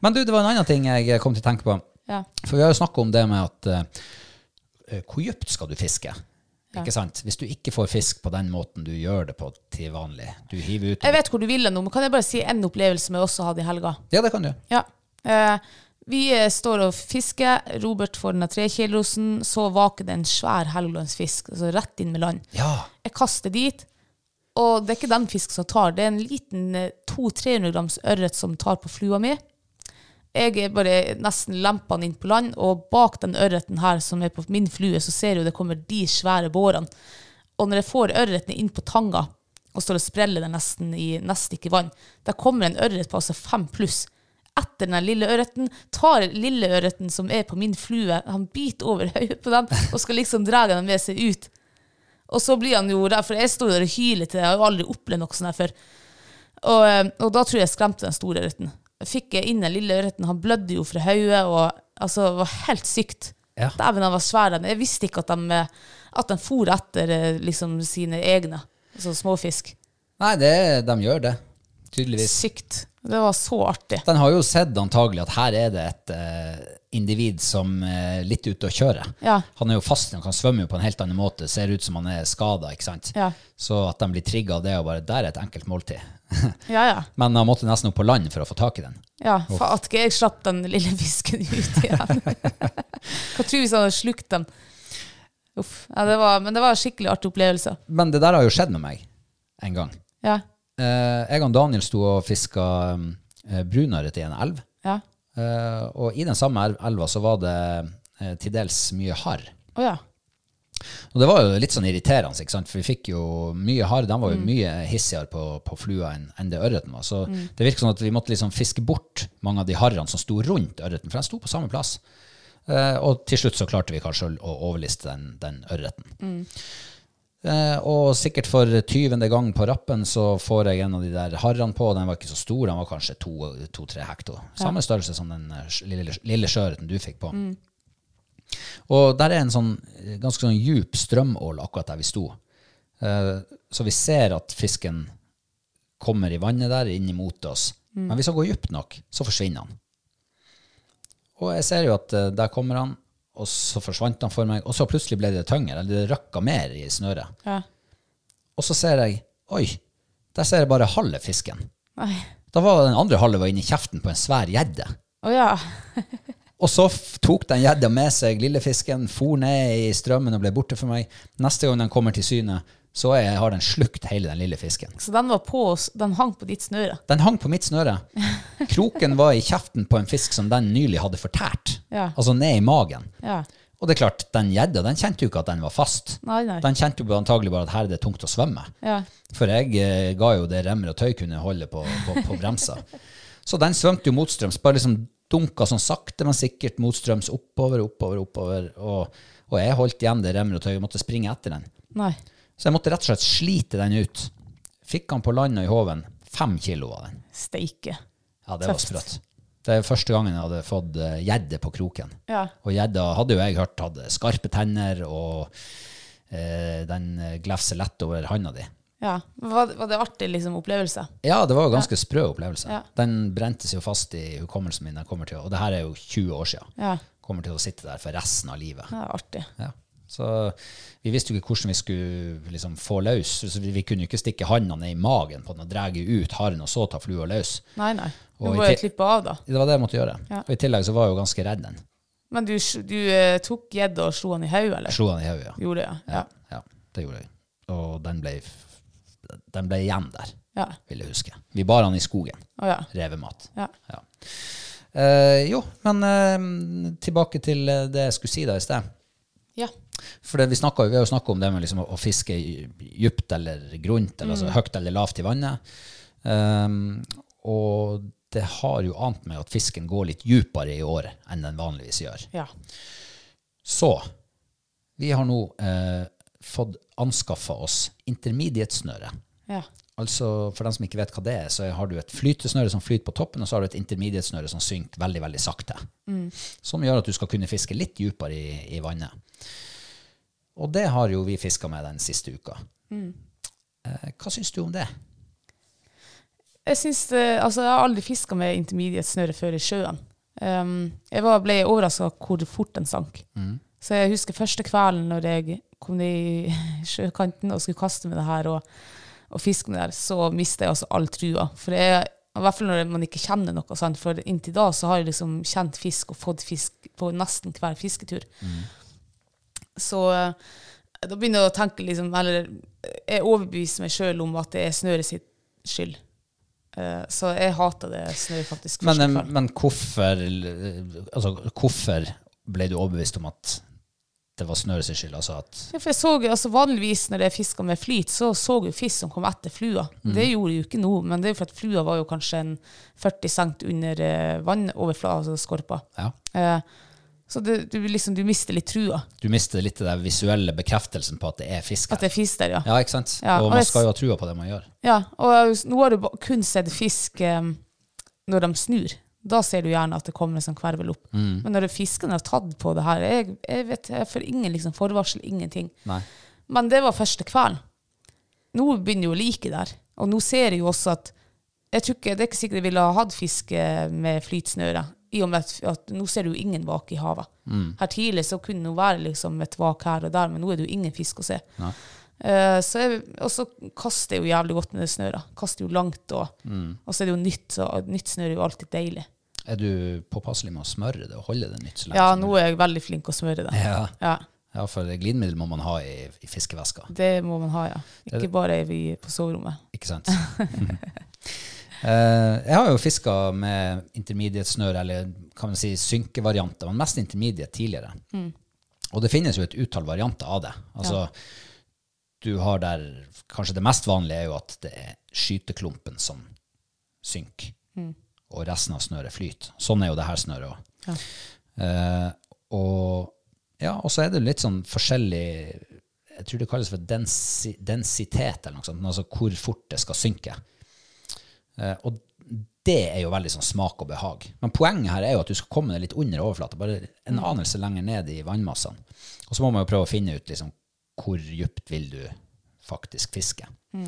C: Men du, det var en annen ting jeg kom til å tenke på.
D: Ja.
C: For vi har jo snakket om det med at eh, hvor dypt skal du fiske? Ikke sant? Hvis du ikke får fisk på den måten du gjør det på til vanlig. Du hiver ut
D: Jeg vet hvor du vil nå, men kan jeg bare si en opplevelse som jeg også hadde i helga?
C: Ja, det kan du.
D: Ja. Eh, vi eh, står og fisker. Robert får den av trekilosen. Så vaker det en svær helgelandsfisk, altså rett inn med land.
C: Ja.
D: Jeg kaster dit, og det er ikke den fisken som tar. Det er en liten eh, 200-300 grams ørret som tar på flua mi. Jeg er bare nesten lempa den inn på land, og bak den ørreten her som er på min flue, så ser jeg jo det kommer de svære bårene. Og når jeg får ørreten inn på tanga, og står og spreller den nesten i nesten ikke vann, der kommer en ørret på altså fem pluss. Etter den lille ørreten tar lille ørreten som er på min flue, han biter over (laughs) hodet på den og skal liksom dra den med seg ut. Og så blir han jo der, for jeg sto der og hylet til det, jeg har jo aldri opplevd noe sånt her før. Og, eh, og da tror jeg jeg skremte den store ørreten. Fikk jeg inn den lille ørreten, han blødde jo fra hodet, og altså, det var helt sykt.
C: Ja.
D: Dæven, han var svær, den. Jeg visste ikke at de, eh, at de for etter eh, liksom, sine egne, altså småfisk.
C: Nei, det, de gjør det. Tydeligvis.
D: Sykt. Det var så artig.
C: Den har jo sett antagelig at her er det et eh, individ som er litt ute å kjøre.
D: Ja.
C: Han er jo fast, han kan svømme jo på en helt annen måte, ser ut som han er skada, ikke sant.
D: Ja.
C: Så at de blir trigga av det og bare Der er et enkelt måltid.
D: Ja, ja.
C: Men han måtte nesten opp på land for å få tak i den.
D: ja. Fa, at ikke jeg slapp den lille fisken ut igjen. Hva tror vi hvis han hadde slukt den? Uff. Ja, det var, men det var en skikkelig artig opplevelse.
C: Men det der har jo skjedd med meg en gang.
D: Ja.
C: Eh, jeg og Daniel sto og fiska eh, brunørret i en elv.
D: Ja.
C: Eh, og i den samme elv- elva så var det eh, til dels mye harr.
D: Å ja.
C: Og det var jo litt sånn irriterende, ikke sant? for vi fikk jo mye harr. Den var jo mye hissigere på, på flua enn enn det ørreten var. Så det virker sånn at vi måtte liksom fiske bort mange av de harrene som sto rundt ørreten, for den sto på samme plass. Eh, og til slutt så klarte vi kanskje å å overliste den, den ørreten. Eh, og sikkert for tyvende gang på rappen så får jeg en av de der harrene på. Den var ikke så stor, den var kanskje to-tre to, tre hekto. Samme størrelse som den eh, lille, lille sjøørreten du fikk på. Og der er en sånn eh, ganske sånn djup strømål akkurat der vi sto. Eh, Så vi ser at fisken kommer i vannet der inn imot oss. Men hvis han går djupt nok, så forsvinner han. Og jeg ser jo at eh, der kommer han, og så forsvant han for meg, og så plutselig ble det tyngre, eller det røkka mer i snøret.
D: ja.
C: Og så ser jeg, oi, der ser jeg bare halve fisken.
D: Nei.
C: Da var den andre halve var inni kjeften på en svær gjedde.
D: Å ja.
C: Og så f- tok den gjedda med seg lille fisken, for ned i strømmen og ble borte for meg. Neste gang den kommer til syne, så er, har den slukt hele den lille fisken.
D: Så den var på oss. Den hang på ditt snøre.
C: Den hang på mitt
D: (laughs)
C: snøre. Kroken var i kjeften på en fisk som den nylig hadde fortært.
D: Ja.
C: Altså ned i magen.
D: Ja.
C: Og det er klart, den gjedda den kjente jo ikke at den var fast.
D: Nei, nei.
C: Den kjente jo antagelig bare at her er det tungt å svømme.
D: Ja.
C: For jeg eh, ga jo det remmer og tøy kunne holde på, på, på bremsa. Så den svømte jo motstrøms, bare liksom dunka sånn sakte, men sikkert motstrøms oppover, oppover, oppover. Og, og jeg holdt igjen det remmer og tøy og måtte springe etter den.
D: Nei.
C: Så jeg måtte rett og slett slite den ut. Fikk han på land og i håven. Fem kilo av den.
D: Steike.
C: Ja, det var
D: Tøft.
C: sprøtt. Det er første gangen jeg hadde fått eh, gjedde på kroken.
D: Ja.
C: Og gjedda hadde jo jeg hørt hadde skarpe tenner, og eh, den eh, glefser lett over handa di.
D: ja. Var, det- var det artig liksom, opplevelse?
C: Ja, det var jo ganske sprø opplevelse.
D: Ja.
C: Den brente seg jo fast i hukommelsen min. Jeg kommer til, å- og det her er jo 20 år siden.
D: Ja.
C: Kommer til å sitte der for resten av livet.
D: ja artig.
C: Ja. Så vi visste jo ikke hvordan vi skulle liksom, få løs. Så vi, vi kunne jo ikke stikke handa ned i magen på den og dra ut haren og så ta flua løs.
D: Nei, nei. Du
C: Og i
D: må jo
C: til-
D: klippe av, da.
C: Det var det jeg måtte gjøre.
D: Ja.
C: Og I tillegg så var jeg jo ganske redd den.
D: Men du, du eh, tok gjedda og slo han i hodet, eller?
C: Jeg slo den i hodet. Ja.
D: Gjorde det, ja.
C: Ja. ja, det gjorde jeg. Og den ble, den ble igjen der,
D: Ja.
C: vil jeg huske. Vi bar han i skogen.
D: Å ja.
C: Revemat.
D: Ja.
C: Ja. Eh, jo, men eh, tilbake til eh, det jeg skulle si da i sted.
D: ja.
C: For det, vi, snakket, jo- vi har jo snakka om det med liksom å, å fiske dypt eller grunt, eller altså høyt eller lavt i vannet. Ehm, og det har jo ant meg at fisken går litt dypere i år enn den vanligvis gjør.
D: Ja.
C: Så vi har nå eh, fått anskaffa oss intermediate-snøre.
D: Ja.
C: Altså, For dem som ikke vet hva det er, så har du et flytesnøre som flyter på toppen, og så har du et intermediate-snøre som synker veldig veldig sakte.
D: Mm.
C: Som gjør at du skal kunne fiske litt dypere i, i vannet. Og det har jo vi fiska med den siste uka.
D: Mm.
C: Eh, hva syns du om det?
D: Jeg syns det Altså, jeg har aldri fiska med intermediate snøre før i sjøen. Um, jeg var, ble overraska hvor fort den sank. Så jeg husker første kvelden når jeg kom ned i (laughs) sjøkanten og skulle kaste med det her og, og fiske med det her, så mista jeg altså all trua. For jeg, i hvert fall når man ikke kjenner noe, sant? for inntil da så har jeg liksom kjent fisk og fått fisk på nesten hver fisketur.
C: Mm.
D: Så eh, da begynner jeg å tenke liksom, eller jeg overbeviser meg sjøl om at det er snøret sitt skyld. Eh, Så jeg hater det snøret faktisk.
C: Men,
D: første
C: eh,
D: kvelden.
C: men hvorfor, altså, hvorfor ble du overbevist om at det var snøret sin skyld? Altså at
D: Ja, for jeg så, jo- altså Vanligvis når jeg fiska med flyt, så så jeg jo fisk som kom etter flua. Det gjorde jeg jo ikke nå, men det er jo for at flua var jo kanskje en 40 cent under eh, vannoverflata, altså skorpa.
C: ja,
D: Eh, så det, du, liksom, du mister litt trua.
C: du mister litt den visuelle bekreftelsen på at det er fisk
D: At
C: her.
D: det er fisk der, ja.
C: Ja, ikke sant?
D: Ja, og
C: og man
D: jeg s-
C: skal jo ha trua på det man gjør.
D: Ja, og jeg har jo s- nå har du ba- kun sett fisk eh, når de snur. Da ser du gjerne at det kommer en sånn kvervel opp. Men når fisken har tatt på det her Jeg, jeg vet, jeg får ingen liksom, forvarsel, ingenting.
C: Nei.
D: Men det var første kvelden. Nå begynner jo liket der. Og nå ser jeg jo også at jeg tror ikke, Det er ikke sikkert jeg ville ha hatt fiske med flytsnøre, i og med at, at nå ser du jo ingen vak i havet. Her tidlig så kunne det jo være liksom et vak her og der, men nå er det jo ingen fisk å se. Eh, så jeg, og så kaster jeg jo jævlig godt med det snøret. Kaster jo langt, og, og så er det jo nytt, så nytt snøre er jo alltid deilig.
C: Er du påpasselig med å smøre det og holde det nytt så lenge?
D: Ja,
C: som
D: nå
C: mulig?
D: er jeg veldig flink å smøre det.
C: Ja.
D: Ja,
C: ja, for glidemiddel må man ha i, i fiskeveska,
D: Det må man ha, ja. Ikke bare vi på soverommet.
C: ikke sant? Eh, jeg har jo fiska med intermediate-snør, eller kan man si synkevarianter, men mest intermediate tidligere. Og det finnes jo et utall varianter av det. Altså, du har der, Kanskje det mest vanlige er jo at det er skyteklumpen som synker, og resten av snøret flyter. Sånn er jo det her snøret òg.
D: Ja.
C: Eh, og, ja, og så er det litt sånn forskjellig Jeg tror det kalles for densi, densitet, eller noe sånt. men Altså hvor fort det skal synke. Eh, og det er jo veldig sånn smak og behag. Men poenget her er jo at du skal komme deg litt under overflata, bare en anelse lenger ned i vannmassene. Og så må man jo prøve å finne ut liksom, hvor dypt vil du faktisk fiske. Jeg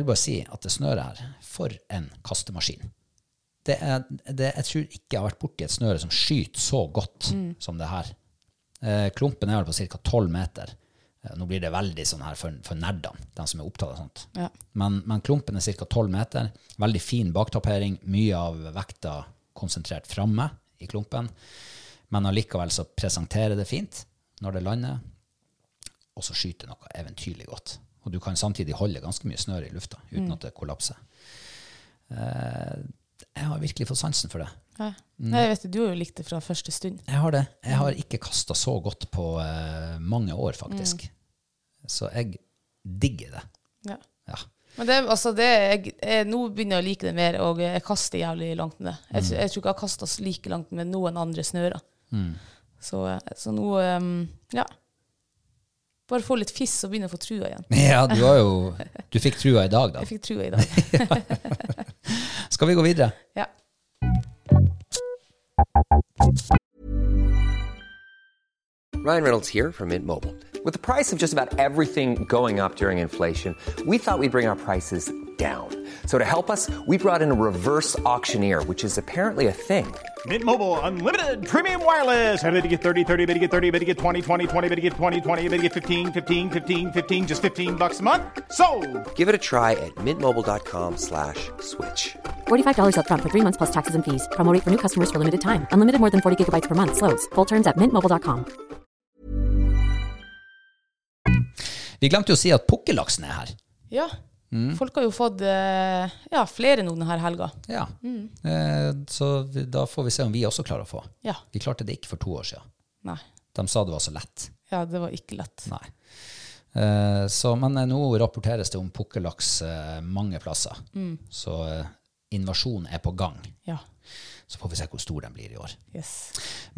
C: vil bare si at det snøret her, for en kastemaskin. Det er, det, jeg tror ikke jeg har vært borti et snøre som skyter så godt som det her. Eh, klumpen er vel på ca. 12 meter. Eh, nå blir det veldig sånn her for, for nerdene, de som er opptatt av sånt.
D: Ja.
C: Men, men klumpen er ca. 12 meter. Veldig fin baktapering. Mye av vekta konsentrert framme i klumpen. Men allikevel så presenterer det fint når det lander, og så skyter det noe eventyrlig godt. Og du kan samtidig holde ganske mye snør i lufta uten at det kollapser. Eh, jeg har virkelig fått sansen for det.
D: Nei, Nei, jeg vet det, du har jo likt det fra første stund.
C: Jeg har det. Jeg har ikke kasta så godt på eh, mange år, faktisk. Så jeg digger det. Ja. (laughs)
D: Men det, altså det, jeg, jeg, nå begynner jeg å like det mer, og jeg kaster jævlig langt med det. Jeg, tror- jeg tror ikke jeg har kasta like langt med noen andre snører. Så, så nå ehm, ja. Bare få litt fiss og begynne å få trua igjen.
C: Ja, du har jo Du fikk trua i dag, da.
D: Jeg fikk trua i dag.
C: Skal vi gå videre?
D: Ja.
E: Ryan Reynolds here from Mint Mobile. With the price of just about everything going up during inflation, we thought we'd bring our prices down. So to help us, we brought in a reverse auctioneer, which is apparently a thing.
F: Mint Mobile unlimited premium wireless. Ready to get 30, 30, bet you get 30, bet you get 20, 20, 20, bet you get 20, 20, bet you get 15, 15, 15, 15 just 15 bucks a month. So,
E: Give it a try at mintmobile.com slash switch.
G: $45 up front for three months plus taxes and fees. Promo rate for new customers for limited time. Unlimited more than 40 gigabytes per month. Slows. Full terms at mintmobile.com.
C: Vi glemte jo å si at pukkellaksen er her.
D: Ja. Folk har jo fått eh, ja, flere nå denne helga.
C: Ja. Eh, så vi- da får vi se om vi også klarer å få.
D: Ja.
C: Vi klarte det ikke for to år siden.
D: Nei.
C: De sa det var så lett.
D: Ja, det var ikke lett.
C: Nei. Eh, så, men eh, nå rapporteres det om pukkellaks eh, mange plasser. Så eh, invasjonen er på gang.
D: Ja.
C: Så får vi se hvor stor den blir i år.
D: Yes.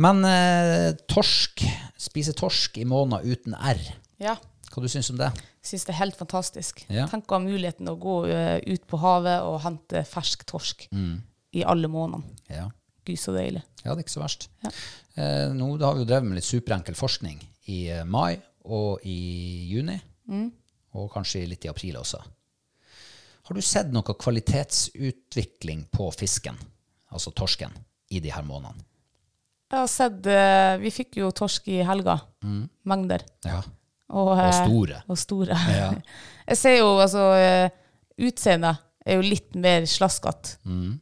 C: Men eh, torsk, spise torsk i måneder uten R.
D: Ja.
C: Hva du syns om det?
D: Syns det er helt fantastisk.
C: Ja.
D: Tenk å ha muligheten å gå eh, ut på havet og hente fersk torsk
C: Mm.
D: i alle månedene.
C: Ja.
D: Gud, så deilig.
C: Ja, det er ikke så verst. Eh, nå da har vi jo drevet med litt superenkel forskning i eh, mai og i juni, og kanskje litt i april også. Har du sett noe kvalitetsutvikling på fisken, altså torsken, i de her månedene?
D: Jeg har sett eh, Vi fikk jo torsk i helga. Mengder.
C: Ja.
D: Og, eh,
C: Mm. store.
D: Og store. (laughs) Jeg ser jo altså eh, Utseendet er jo litt mer slaskete.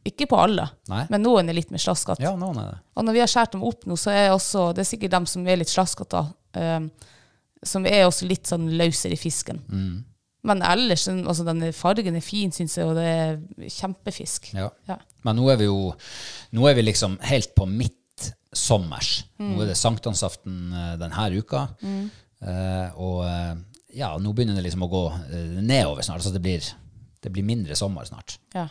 D: Ikke på alle,
C: Mm. Nei.
D: men noen er litt mer slaskete.
C: Ja, noen er det.
D: Og når vi har skåret dem opp nå, så er også, det er sikkert dem som er litt slaskete, um, som er også litt sånn løsere i fisken.
C: Mm.
D: Men ellers, den- altså denne fargen er fin, syns jeg, og det er kjempefisk.
C: Ja.
D: Ja.
C: Men nå er vi jo nå er vi liksom helt på midt sommers. Nå er det sankthansaften eh, denne uka. Eh, og eh, ja, nå begynner det liksom å gå eh, nedover snart. Så det blir, det blir mindre sommer snart.
D: Ja.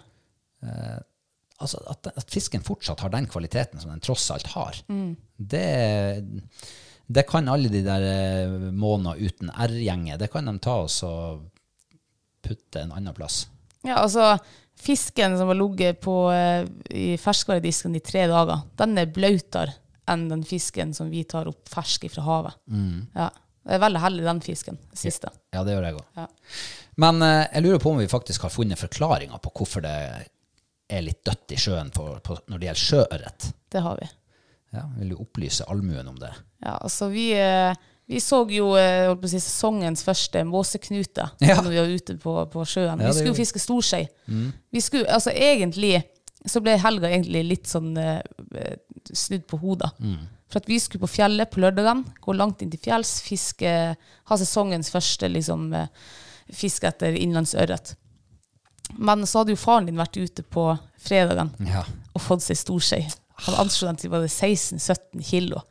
C: Altså at, at fisken fortsatt har den kvaliteten som den tross alt har, det, det kan alle de der eh, måneder uten R-gjenger, det kan de ta oss og putte en annen plass.
D: ja, altså fisken som har ligget på, eh, i ferskvaredisken i tre dager, den er blautere enn den fisken som vi tar opp fersk fra havet. Ja. Jeg er veldig heldig den fisken, siste.
C: Mm. Ja, det gjør jeg òg.
D: Ja.
C: Men eh, jeg lurer på om vi faktisk har funnet forklaringa på hvorfor det er litt dødt i sjøen for, på, når det gjelder sjøørret.
D: Det har vi.
C: Ja, vil du opplyse allmuen om det?
D: Ja, altså vi, eh, vi så jo eh, holdt på å si, sesongens første måseknute
C: (laughs) Ja.
D: når vi var ute på, på
C: Ja,
D: sjøen.
C: det
D: vi
C: gjorde
D: skulle jo
C: vi. Mm.
D: fiske storskei. Vi skulle, altså egentlig så ble helga egentlig litt sånn eh, eh, snudd på hodet.
C: Mm.
D: For at vi skulle på fjellet på lørdagen, gå langt inn til fjells, fiske, ha sesongens første liksom, eh, fiske etter innlandsørret. Men så hadde jo faren din vært ute på fredagen
C: Ja.
D: og fått seg storskei. Han anslo den til både 16-17 kilo.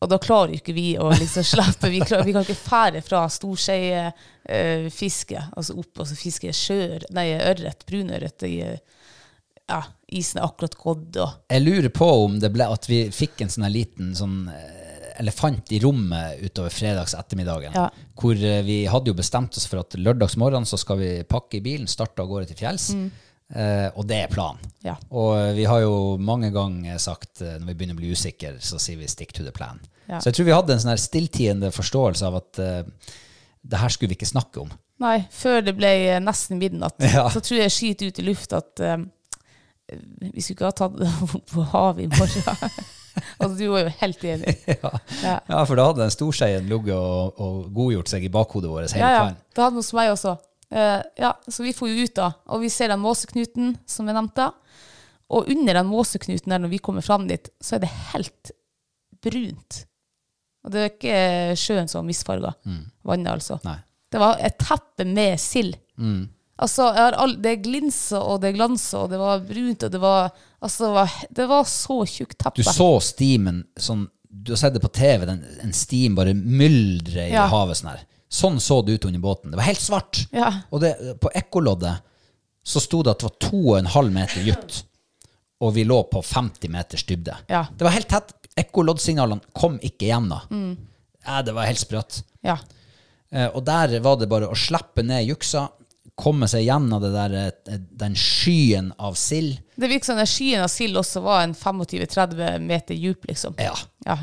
D: Og da klarer jo ikke vi å liksom slappe. Vi, klarer, vi kan ikke fære fra storskeifiske, altså opp og så fiske sjøør, nei, ørret, brunørret i eh, ja, isen er akkurat gått og
C: Jeg lurer på om det ble at vi fikk en sånn her liten sånn eh, elefant i rommet utover fredags ettermiddagen.
D: Ja.
C: Hvor eh, vi hadde jo bestemt oss for at lørdags morgen så skal vi pakke i bilen, starte av gårde til fjells. Eh, og det er planen.
D: Mm. Ja.
C: Og eh, vi har jo mange ganger sagt eh, når vi begynner å bli usikre, så sier vi 'stick to the plan'.
D: Ja.
C: Så jeg tror vi hadde en sånn her stilltiende forståelse av at eh, det her skulle vi ikke snakke om.
D: Nei, før det ble eh, nesten midnatt,
C: Ja.
D: så tror jeg skyter ut i luft at eh, vi skulle ikke ha tatt (laughs) det opp på havet i morgen. altså, du var jo helt enig. Ja.
C: Ja, for da hadde den storskeien ligget og, og godgjort seg i bakhodet vårt hele
D: ja, ja.
C: kvelden.
D: Det hadde han hos meg også. Eh, ja, så vi får jo ut da, og vi ser den måseknuten som jeg nevnte. Og under den måseknuten der, når vi kommer fram dit, så er det helt brunt. Og det er ikke sjøen som har misfarga vannet, altså.
C: Mm. Nei. Mm.
D: Det var et teppe med sild. Altså, jeg har all, det glinsa og det glansa, og det var brunt, og det var Altså, det var, det var så tjukt
C: Du
D: teppe.
C: så steamen sånn Du har sett det på TV, den, en steam bare myldre i
D: Ja.
C: havet sånn her. Sånn så det ut under båten. Det var helt svart.
D: Ja.
C: Og det, på ekkoloddet så sto det at det var to og en halv meter dypt, og vi lå på 50 meters dybde.
D: Ja.
C: Det var helt tett. Ekkoloddsignalene kom ikke igjennom.
D: Mm.
C: Ja, det var helt sprøtt.
D: Ja.
C: Eh, Og der var det bare å slippe ned juksa, komme seg gjennom det der, eh, den skyen av sild.
D: Det virker som den skyen av sild også var en 25-30 meter djup, liksom.
C: Ja.
D: Ja.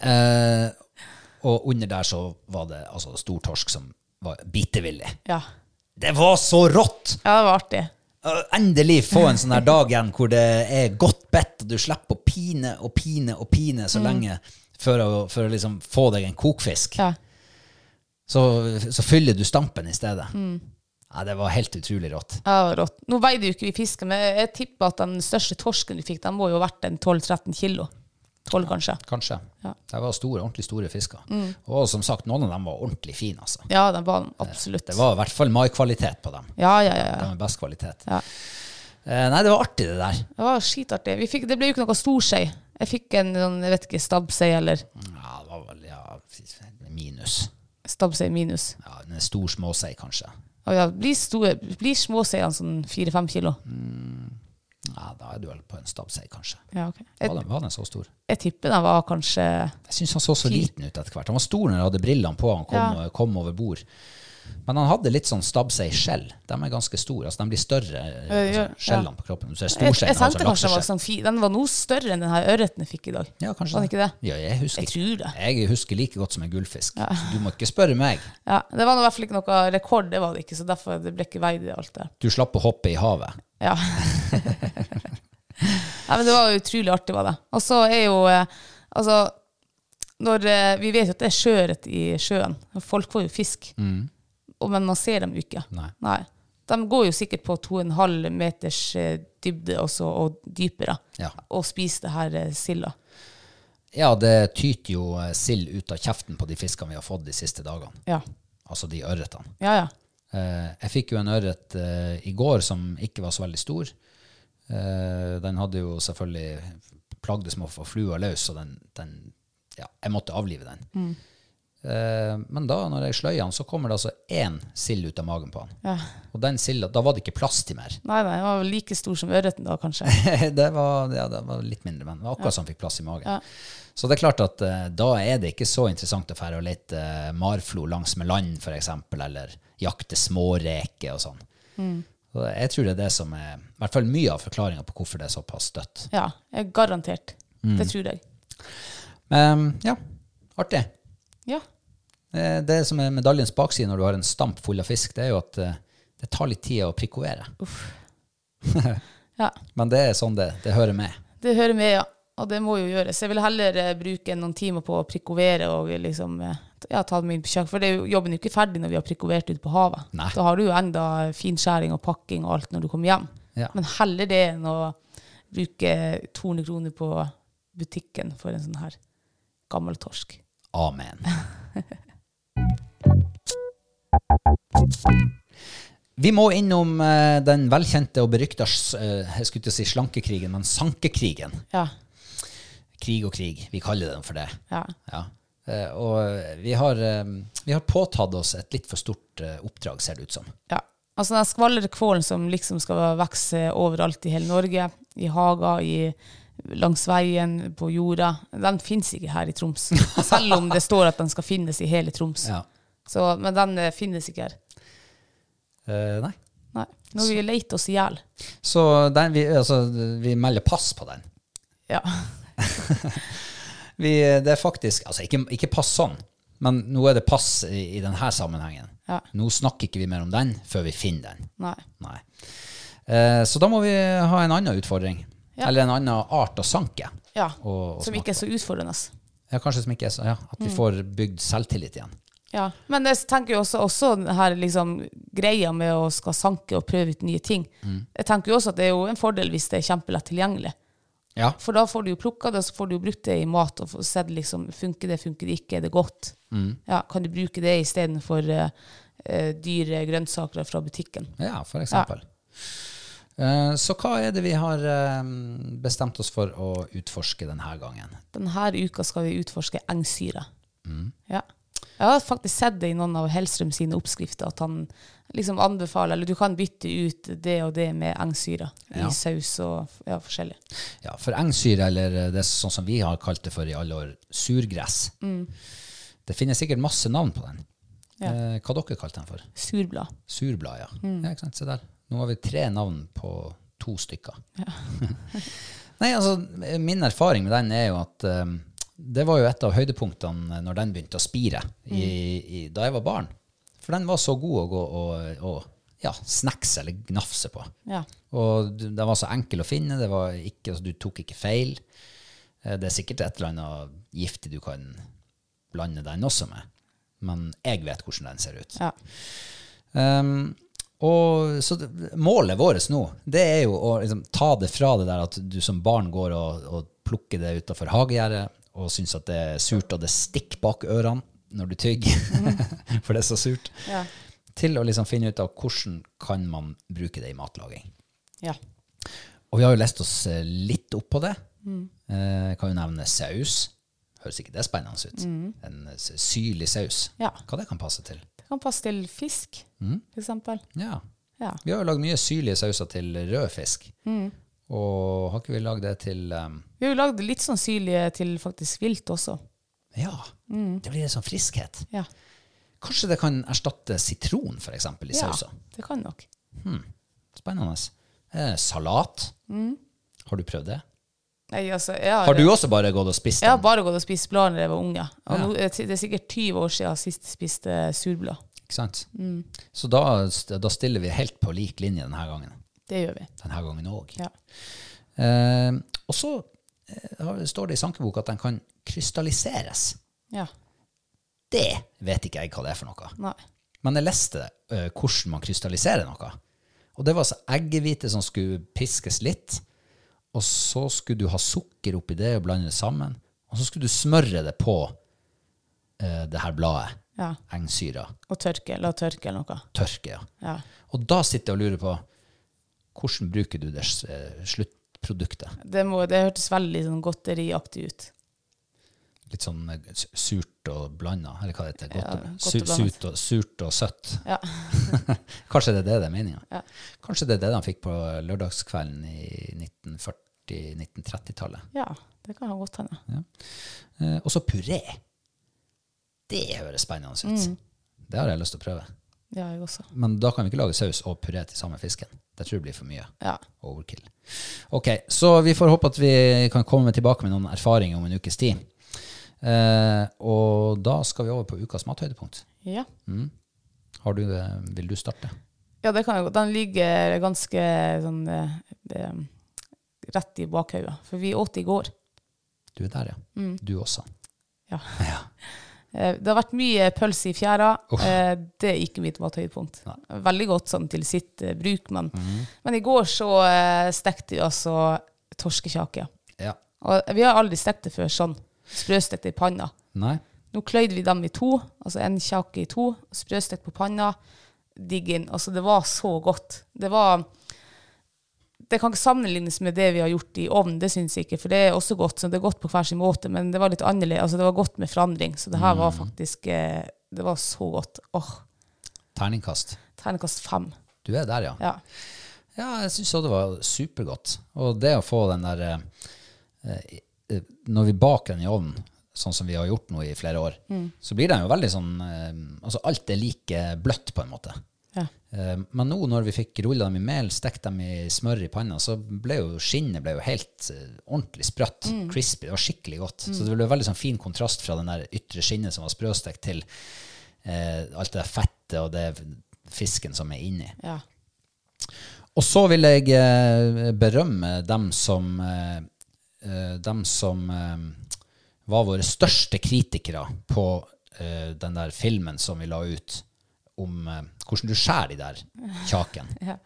C: Eh, Og under der så var det altså stor torsk som var bitevillig.
D: Ja.
C: Det var så rått!
D: ja, det var artig.
C: Å, Endelig få en sånn her dag igjen hvor det er godt bedt, og du slipper å pine og pine og pine så lenge for å, for å liksom få deg en kokfisk.
D: Mm. Ja.
C: Så, så fyller du stampen i stedet. Ja, det var helt utrolig rått.
D: Mm. Ja, det var rått. Nå veide jo ikke vi fisken, men jeg tipper at den største torsken du fikk, den må jo ha vært en 12-13 kilo. 12 kanskje.
C: Kanskje.
D: Ja. Mm.
C: Det var store, ordentlig store fisker. Og som sagt, noen av dem var ordentlig fine. Altså.
D: Ja, den var den absolutt.
C: Det var i hvert fall maikvalitet på dem.
D: Ja, ja, ja.
C: De
D: ja.
C: er best kvalitet.
D: Ja.
C: Eh, nei, det var artig, det der.
D: Det var skitartig. Vi fikk, det ble jo ikke noe storskei. Jeg fikk en sånn, jeg vet ikke, stabbsei eller
C: Ja, det var vel ja, minus.
D: stabbsei minus.
C: Ja, en stor småsei, kanskje.
D: Og ja, blir, store, blir små seiene sånn 4-5 kilo.
C: Ja, da er du vel på en stabbsei, kanskje.
D: Ja, ok.
C: Var
D: Jeg,
C: den, var den så stor?
D: jeg tipper den var kanskje
C: Jeg syns han så så
D: Fy.
C: liten ut etter hvert. Han var stor når han hadde brillene på, han kom, eh,
D: Ja.
C: kom over bord. Men han hadde litt sånn stabbsei-skjell. De er ganske store. altså De blir større, altså,
D: ja.
C: skjellene på kroppen. Du ser
D: Jeg,
C: storseien
D: jeg
C: har sånn
D: tenkte kanskje den var
C: lakseskjell.
D: sånn fi, Den var noe større enn den her ørreten jeg fikk i dag.
C: Ja, kanskje
D: Var det ikke det?
C: Ja, jeg husker,
D: Jeg tror det.
C: Jeg husker like godt som en gullfisk. Du må ikke spørre meg.
D: Ja, Det var nå i hvert fall ikke noe rekord, det var det ikke, så derfor det ble ikke veid i alt det.
C: Du slapp å hoppe i havet.
D: Ja. Nei, men det var utrolig artig, var det. Og så er jo eh, Altså, når eh, Vi vet jo at det er sjøørret i sjøen. Folk får jo fisk. Og, men man ser dem jo ikke.
C: Nei.
D: De går jo sikkert på 2,5 meters eh, dybde også, og dypere
C: Ja.
D: og spiser det her eh, silda.
C: Ja, det tyter jo eh, sild ut av kjeften på de fiskene vi har fått de siste dagene.
D: Ja.
C: Altså de ørretene.
D: Ja, ja.
C: Eh, jeg fikk jo en ørret eh, i går som ikke var så veldig stor. Eh, den hadde jo selvfølgelig plagdes med å få flua løs, så den, den ja, jeg måtte avlive den. Eh, men da, når jeg sløyer den, så kommer det altså én sild ut av magen på den. Og den silda, da var det ikke plass til mer.
D: Nei, nei, den var vel like stor som ørreten da, kanskje.
C: (laughs) det, var, ja, det var litt mindre, men det var akkurat som han fikk plass i magen. Så det er klart at eh, da er det ikke så interessant å fære og lete eh, marflo langs med land, for eksempel, eller jakte småreker og sånn. Så jeg tror det er det som er i hvert fall mye av forklaringa på hvorfor det er såpass støtt.
D: Ja, eh, garantert. Det tror jeg.
C: Men ja, artig.
D: Ja.
C: Eh, Det som er medaljens bakside når du har en stamp full av fisk, det er jo at eh, det tar litt tid å prikovere.
D: ja.
C: Men det er sånn det, det hører med.
D: Det hører med, ja. Og det må jo gjøres. Jeg vil heller eh, bruke noen timer på å prikovere og liksom eh, t- ja, ta dem inn på kjøkkenet. For det er jo, jobben er jo ikke ferdig når vi har prikovert ute på havet.
C: Nei.
D: Da har du jo enda finskjæring og pakking og alt når du kommer hjem.
C: Ja.
D: Men heller det enn å bruke 200 kroner på butikken for en sånn her gammel torsk.
C: Amen. Vi må innom eh, den velkjente og berykta s- eh, jeg skulle til å si slankekrigen, men sankekrigen.
D: Ja.
C: Krig og krig, vi kaller den for det.
D: Ja.
C: Ja. Eh, Og vi har, eh, vi har påtatt oss et litt for stort eh, oppdrag, ser det ut som.
D: ja. Altså den skvallerkvålen som liksom skal vokse overalt i hele Norge, i hager, i langs veien, på jorda, den finnes ikke her i Troms.
C: (laughs)
D: Selv om det står at den skal finnes i hele Troms.
C: Ja.
D: Så, men den eh, finnes ikke her.
C: Eh, Nei.
D: Nei. Nå har vi leit oss i hjel.
C: Så den, vi, altså, vi melder pass på den.
D: Ja.
C: Vi, det er faktisk Altså, ikke, ikke pass sånn, men nå er det pass i, i denne sammenhengen.
D: Ja.
C: Nå snakker ikke vi mer om den før vi finner den.
D: Nei.
C: Nei. Eh, så da må vi ha en annen utfordring.
D: Ja.
C: Eller en annen art å sanke.
D: Ja.
C: Og- og
D: Som ikke er så utfordrende.
C: Ja, kanskje som ikke er så, ja, At vi
D: Mm.
C: får bygd selvtillit igjen.
D: Ja. Men jeg tenker jo også, også den her liksom, greia med å skal sanke og prøve ut nye ting.
C: Mm.
D: Jeg tenker jo også at det er jo en fordel hvis det er kjempelett tilgjengelig.
C: Ja,
D: For da får du jo plukka det, og så får du jo brukt det i mat, og får sett liksom, funker det, funker det ikke, er det godt? Ja, kan du bruke det istedenfor uh, dyre grønnsaker fra butikken?
C: ja for eksempel. Eh, så hva er det vi har eh, bestemt oss for å utforske denne gangen?
D: Denne uka skal vi utforske engsyre. Ja. Jeg har faktisk sett det i noen av Hellstrøm sine oppskrifter, at han liksom anbefaler eller du kan bytte ut det og det med engsyre
C: Ja.
D: i saus og ja, forskjellig.
C: Ja, for engsyre, eller det er sånn som vi har kalt det for i alle år, surgress. Det finnes sikkert masse navn på den.
D: Ja.
C: Eh, hva dere kalte den for?
D: Surblad.
C: Surblad, ja. ja ikke sant? Se der. Nå har vi tre navn på (laughs) to stykker. Nei, altså, min erfaring med den er jo at eh, det var jo et av høydepunktene når den begynte å spire i, i, da jeg var barn. For den var så god å gå og, og ja, snackse eller gnafse på.
D: Ja.
C: Og d- den var så enkel å finne, det var ikke, altså, du tok ikke feil. Eh, Det er sikkert et eller annet giftig du kan blande den også med. Men jeg vet hvordan den ser ut.
D: Ja.
C: Um, og så det- målet vårt nå, det er jo å liksom, ta det fra det der at du som barn går og, og plukker det utafor hagegjerdet og syns at det er surt, og det stikker bak ørene når du tygger, (laughs) for det er så surt,
D: Ja.
C: til å liksom finne ut av hvordan kan man bruke det i matlaging.
D: ja.
C: Og vi har jo lest oss eh, litt opp på det.
D: Mm.
C: Eh, kan jo nevne saus. Høres ikke det spennende ut? En eh, syrlig saus.
D: Mm. Ja.
C: Hva det kan passe til?
D: Det kan passe til fisk, for eksempel.
C: Ja,
D: Ja.
C: Vi har jo lagd mye syrlige sauser til rød fisk.
D: Mm.
C: Og har ikke vi lagd det til um,
D: Vi har jo lagd litt sånn syrlige til faktisk vilt også.
C: Ja,
D: Mm.
C: det blir en sånn friskhet.
D: Ja,
C: Kanskje det kan erstatte sitron, f.eks., i
D: ja
C: sauser.
D: det kan nok.
C: Spennende. Eh, salat. Har du prøvd det?
D: Nei, altså, jeg Mm. har,
C: Har du også bare gått og spist
D: jeg har
C: den?
D: bare gått og spist blad når jeg var unge. Og
C: Ja.
D: nå, er det det er sikkert 20 år siden sist jeg spiste surblad.
C: Ikke sant?
D: Mm.
C: Så da, da stiller vi helt på lik linje denne gangen.
D: Det gjør vi.
C: Denne gangen òg.
D: Ja.
C: Eh, og så eh, har- står det i sankeboka at den kan krystalliseres.
D: ja.
C: Det vet ikke jeg hva det er for noe.
D: Nei.
C: Men jeg leste eh, hvordan man krystalliserer noe. Og det var altså eggehvite som skulle piskes litt, og så skulle du ha sukker oppi det og blande det sammen, og så skulle du smøre det på eh, det her bladet,
D: Ja.
C: engsyra,
D: Og tørke. La tørke eller noe.
C: tørke. Ja.
D: Ja.
C: Og da sitter jeg og lurer på hvordan bruker du det eh, sluttproduktet?
D: Det, må, det hørtes veldig sånn godteriaktig ut.
C: Litt sånn eh, s- surt og blanda, eller hva heter det?
D: Ja,
C: Godt,
D: godt
C: su-
D: og blandet.
C: surt, og, surt og søtt.
D: Ja.
C: (laughs) Kanskje det er det det er meninga.
D: Ja.
C: Kanskje det er det de fikk på lørdagskvelden i 1940-1930-tallet.
D: ja, det kan ha godt hende.
C: Eh, og så puré. Det høres spennende
D: Mm.
C: ut. Det har jeg lyst til å prøve.
D: Det har jeg også.
C: Men da kan vi ikke lage saus og puré til samme fisken. Det tror jeg blir for mye.
D: Ja.
C: Overkill. Ok, så vi får håpe at vi kan komme tilbake med noen erfaringer om en ukes tid. Eh, og da skal vi over på ukas mathøydepunkt.
D: Ja.
C: Har du det? Vil du starte?
D: ja, det kan jeg godt. Den ligger ganske sånn eh, eh, rett i bakhauget. For vi åt i går.
C: Du er der, ja. Du også.
D: Ja.
C: (laughs) Ja.
D: Eh, Det har vært mye pølse i fjæra.
C: Uff.
D: Eh, Det er ikke mitt mathøydepunkt. Veldig godt sånn til sitt eh, bruk, men, men i går så eh, stekte vi altså torskekjake.
C: ja.
D: Og vi har aldri stekt det før sånn. Sprøstekt i panna.
C: Nei?
D: Nå kløyde vi dem i to, altså en kjake i to, sprøstekt på panna, digg inn. Altså, det var så godt. Det var Det kan ikke sammenlignes med det vi har gjort i ovnen, det syns jeg ikke, for det er også godt. Så det er godt på hver sin måte, men det var litt annerledes. Altså, det var godt med forandring. Så det her var faktisk eh, Det var så godt. Åh.
C: Terningkast.
D: Terningkast fem.
C: Du er der, ja.
D: Ja.
C: Ja, jeg syns òg det var supergodt. Og det å få den der eh, eh, Når vi baker den i ovnen, sånn som vi har gjort nå i flere år, så blir den jo veldig sånn eh, Altså alt er like bløtt, på en måte.
D: Ja.
C: Eh, men nå når vi fikk rulla dem i mel, stekt dem i smør i panna, så ble jo skinnet ble jo helt eh, ordentlig sprøtt. Crispy. Det var skikkelig godt. Så det ble veldig sånn fin kontrast fra den der ytre skinnet som var sprøstekt, til eh, alt det der fettet og det fisken som er inni.
D: ja.
C: Og så vil jeg eh, berømme dem som, eh, eh, dem som eh, var våre største kritikere på eh, den der filmen som vi la ut om eh, hvordan du skjærer de der kjaken.
D: Ja.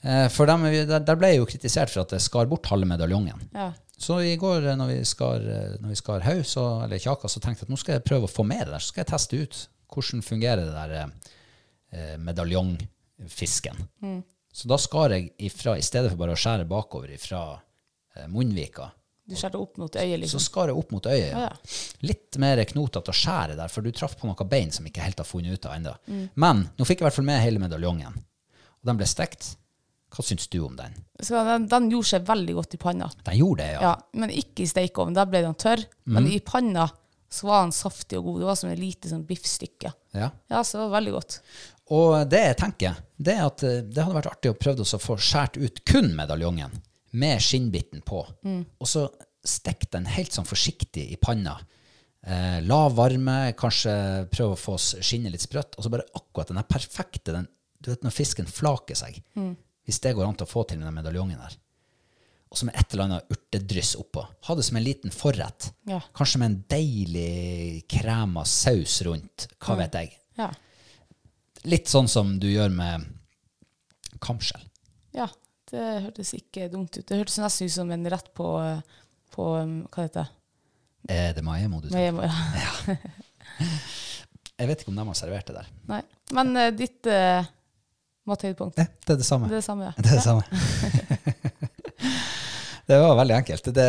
C: Eh, for dem, der, der ble jeg jo kritisert for at jeg skar bort halve medaljongen.
D: ja.
C: Så i går eh, når vi skar, eh, når vi skar haug, så, eller kjaka, så tenkte jeg at nå skal jeg prøve å få med det der. Så skal jeg teste ut hvordan fungerer det der eh, eh, medaljongfisken. Så da skar jeg ifra, i stedet for bare å skjære bakover ifra eh, munnvika,
D: Du skjærer det opp mot øyet,
C: så
D: liksom.
C: skar jeg opp mot øyet.
D: Ja,
C: Ja.
D: ja.
C: Litt mer knotete å skjære der, for du traff på noe bein som jeg ikke helt har funnet ut av ennå. Men nå fikk jeg i hvert fall med hele medaljongen. Og den ble stekt. Hva syns du om den?
D: Så den, den gjorde seg veldig godt i panna.
C: Den gjorde det, ja. Mhm.
D: Ja, men ikke i stekeovnen. Der ble den tørr. Men i panna så var den saftig og god. Det var som et lite sånn biffstykke.
C: ja.
D: Ja, så det var veldig godt.
C: Og det jeg tenker, det er at eh, det hadde vært artig å prøve å få skåret ut kun medaljongen med skinnbiten på, og så stekk den helt sånn forsiktig i panna. Eh, lav varme, kanskje prøv å få s- skinnet litt sprøtt, og så bare akkurat den der perfekte den, Du vet når fisken flaker seg, hvis det går an til å få til med den medaljongen der. Og så med et eller annet urtedryss oppå. Ha det som en liten forrett.
D: Ja.
C: Kanskje med en deilig krem av saus rundt. Hva vet jeg.
D: Ja.
C: Litt sånn som du gjør med kamskjell.
D: ja. Det hørtes ikke dumt ut. Det hørtes nesten ut som en rett på, eh, på um, Hva heter det?
C: Er det maemo du tar?
D: Med, ja.
C: Jeg vet ikke om de har servert det der.
D: (laughs) Nei. Men eh, ditt uh, mathøydepunkt,
C: Nei, det er det samme.
D: det er det samme?
C: (laughs) Det er det samme. (laughs) det var veldig enkelt. Det,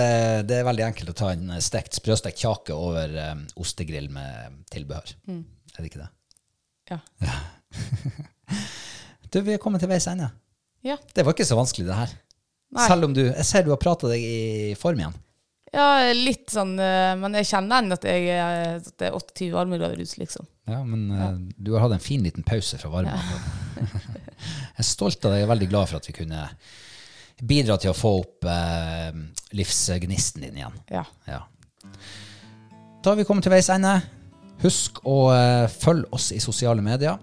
C: det er veldig enkelt å ta en stekt, sprøstekt kjake over um, ostegrill med tilbehør. Er det ikke det?
D: Ja.
C: Du, vi er kommet til veis ende.
D: Ja.
C: Det var ikke så vanskelig, det her.
D: Nei.
C: Selv om du Jeg ser du har prata deg i form igjen.
D: ja, litt sånn eh, Men jeg kjenner enn at, jeg, eh, at det er 28 varmegrader ute, liksom.
C: Ja, men eh, du har hatt en fin liten pause fra varmen. jeg er stolt av deg. Jeg er veldig glad for at vi kunne bidra til å få opp eh, livsgnisten din igjen.
D: Ja.
C: Ja. Da har vi kommet til veis ende. Husk å eh, følge oss i sosiale medier,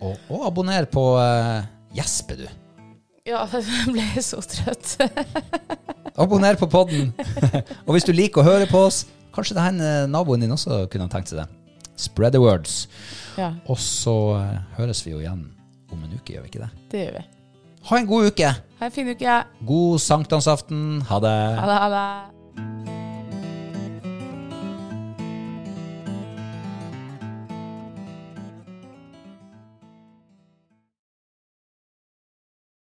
C: og, og abonner på eh, Gjesper, du.
D: Ja, (laughs) jeg ble så trøtt. (laughs)
C: Abonner på podden. (laughs) og hvis du liker å høre på oss, kanskje det her eh, naboen din også kunne ha tenkt seg det. Spread the words.
D: Ja,
C: Og så eh, høres vi jo igjen om en uke, gjør vi ikke det?
D: det gjør vi.
C: Ha en god uke!
D: Ha en fin uke.
C: God sankthansaften. Ha det!
D: Ha det. Ha det.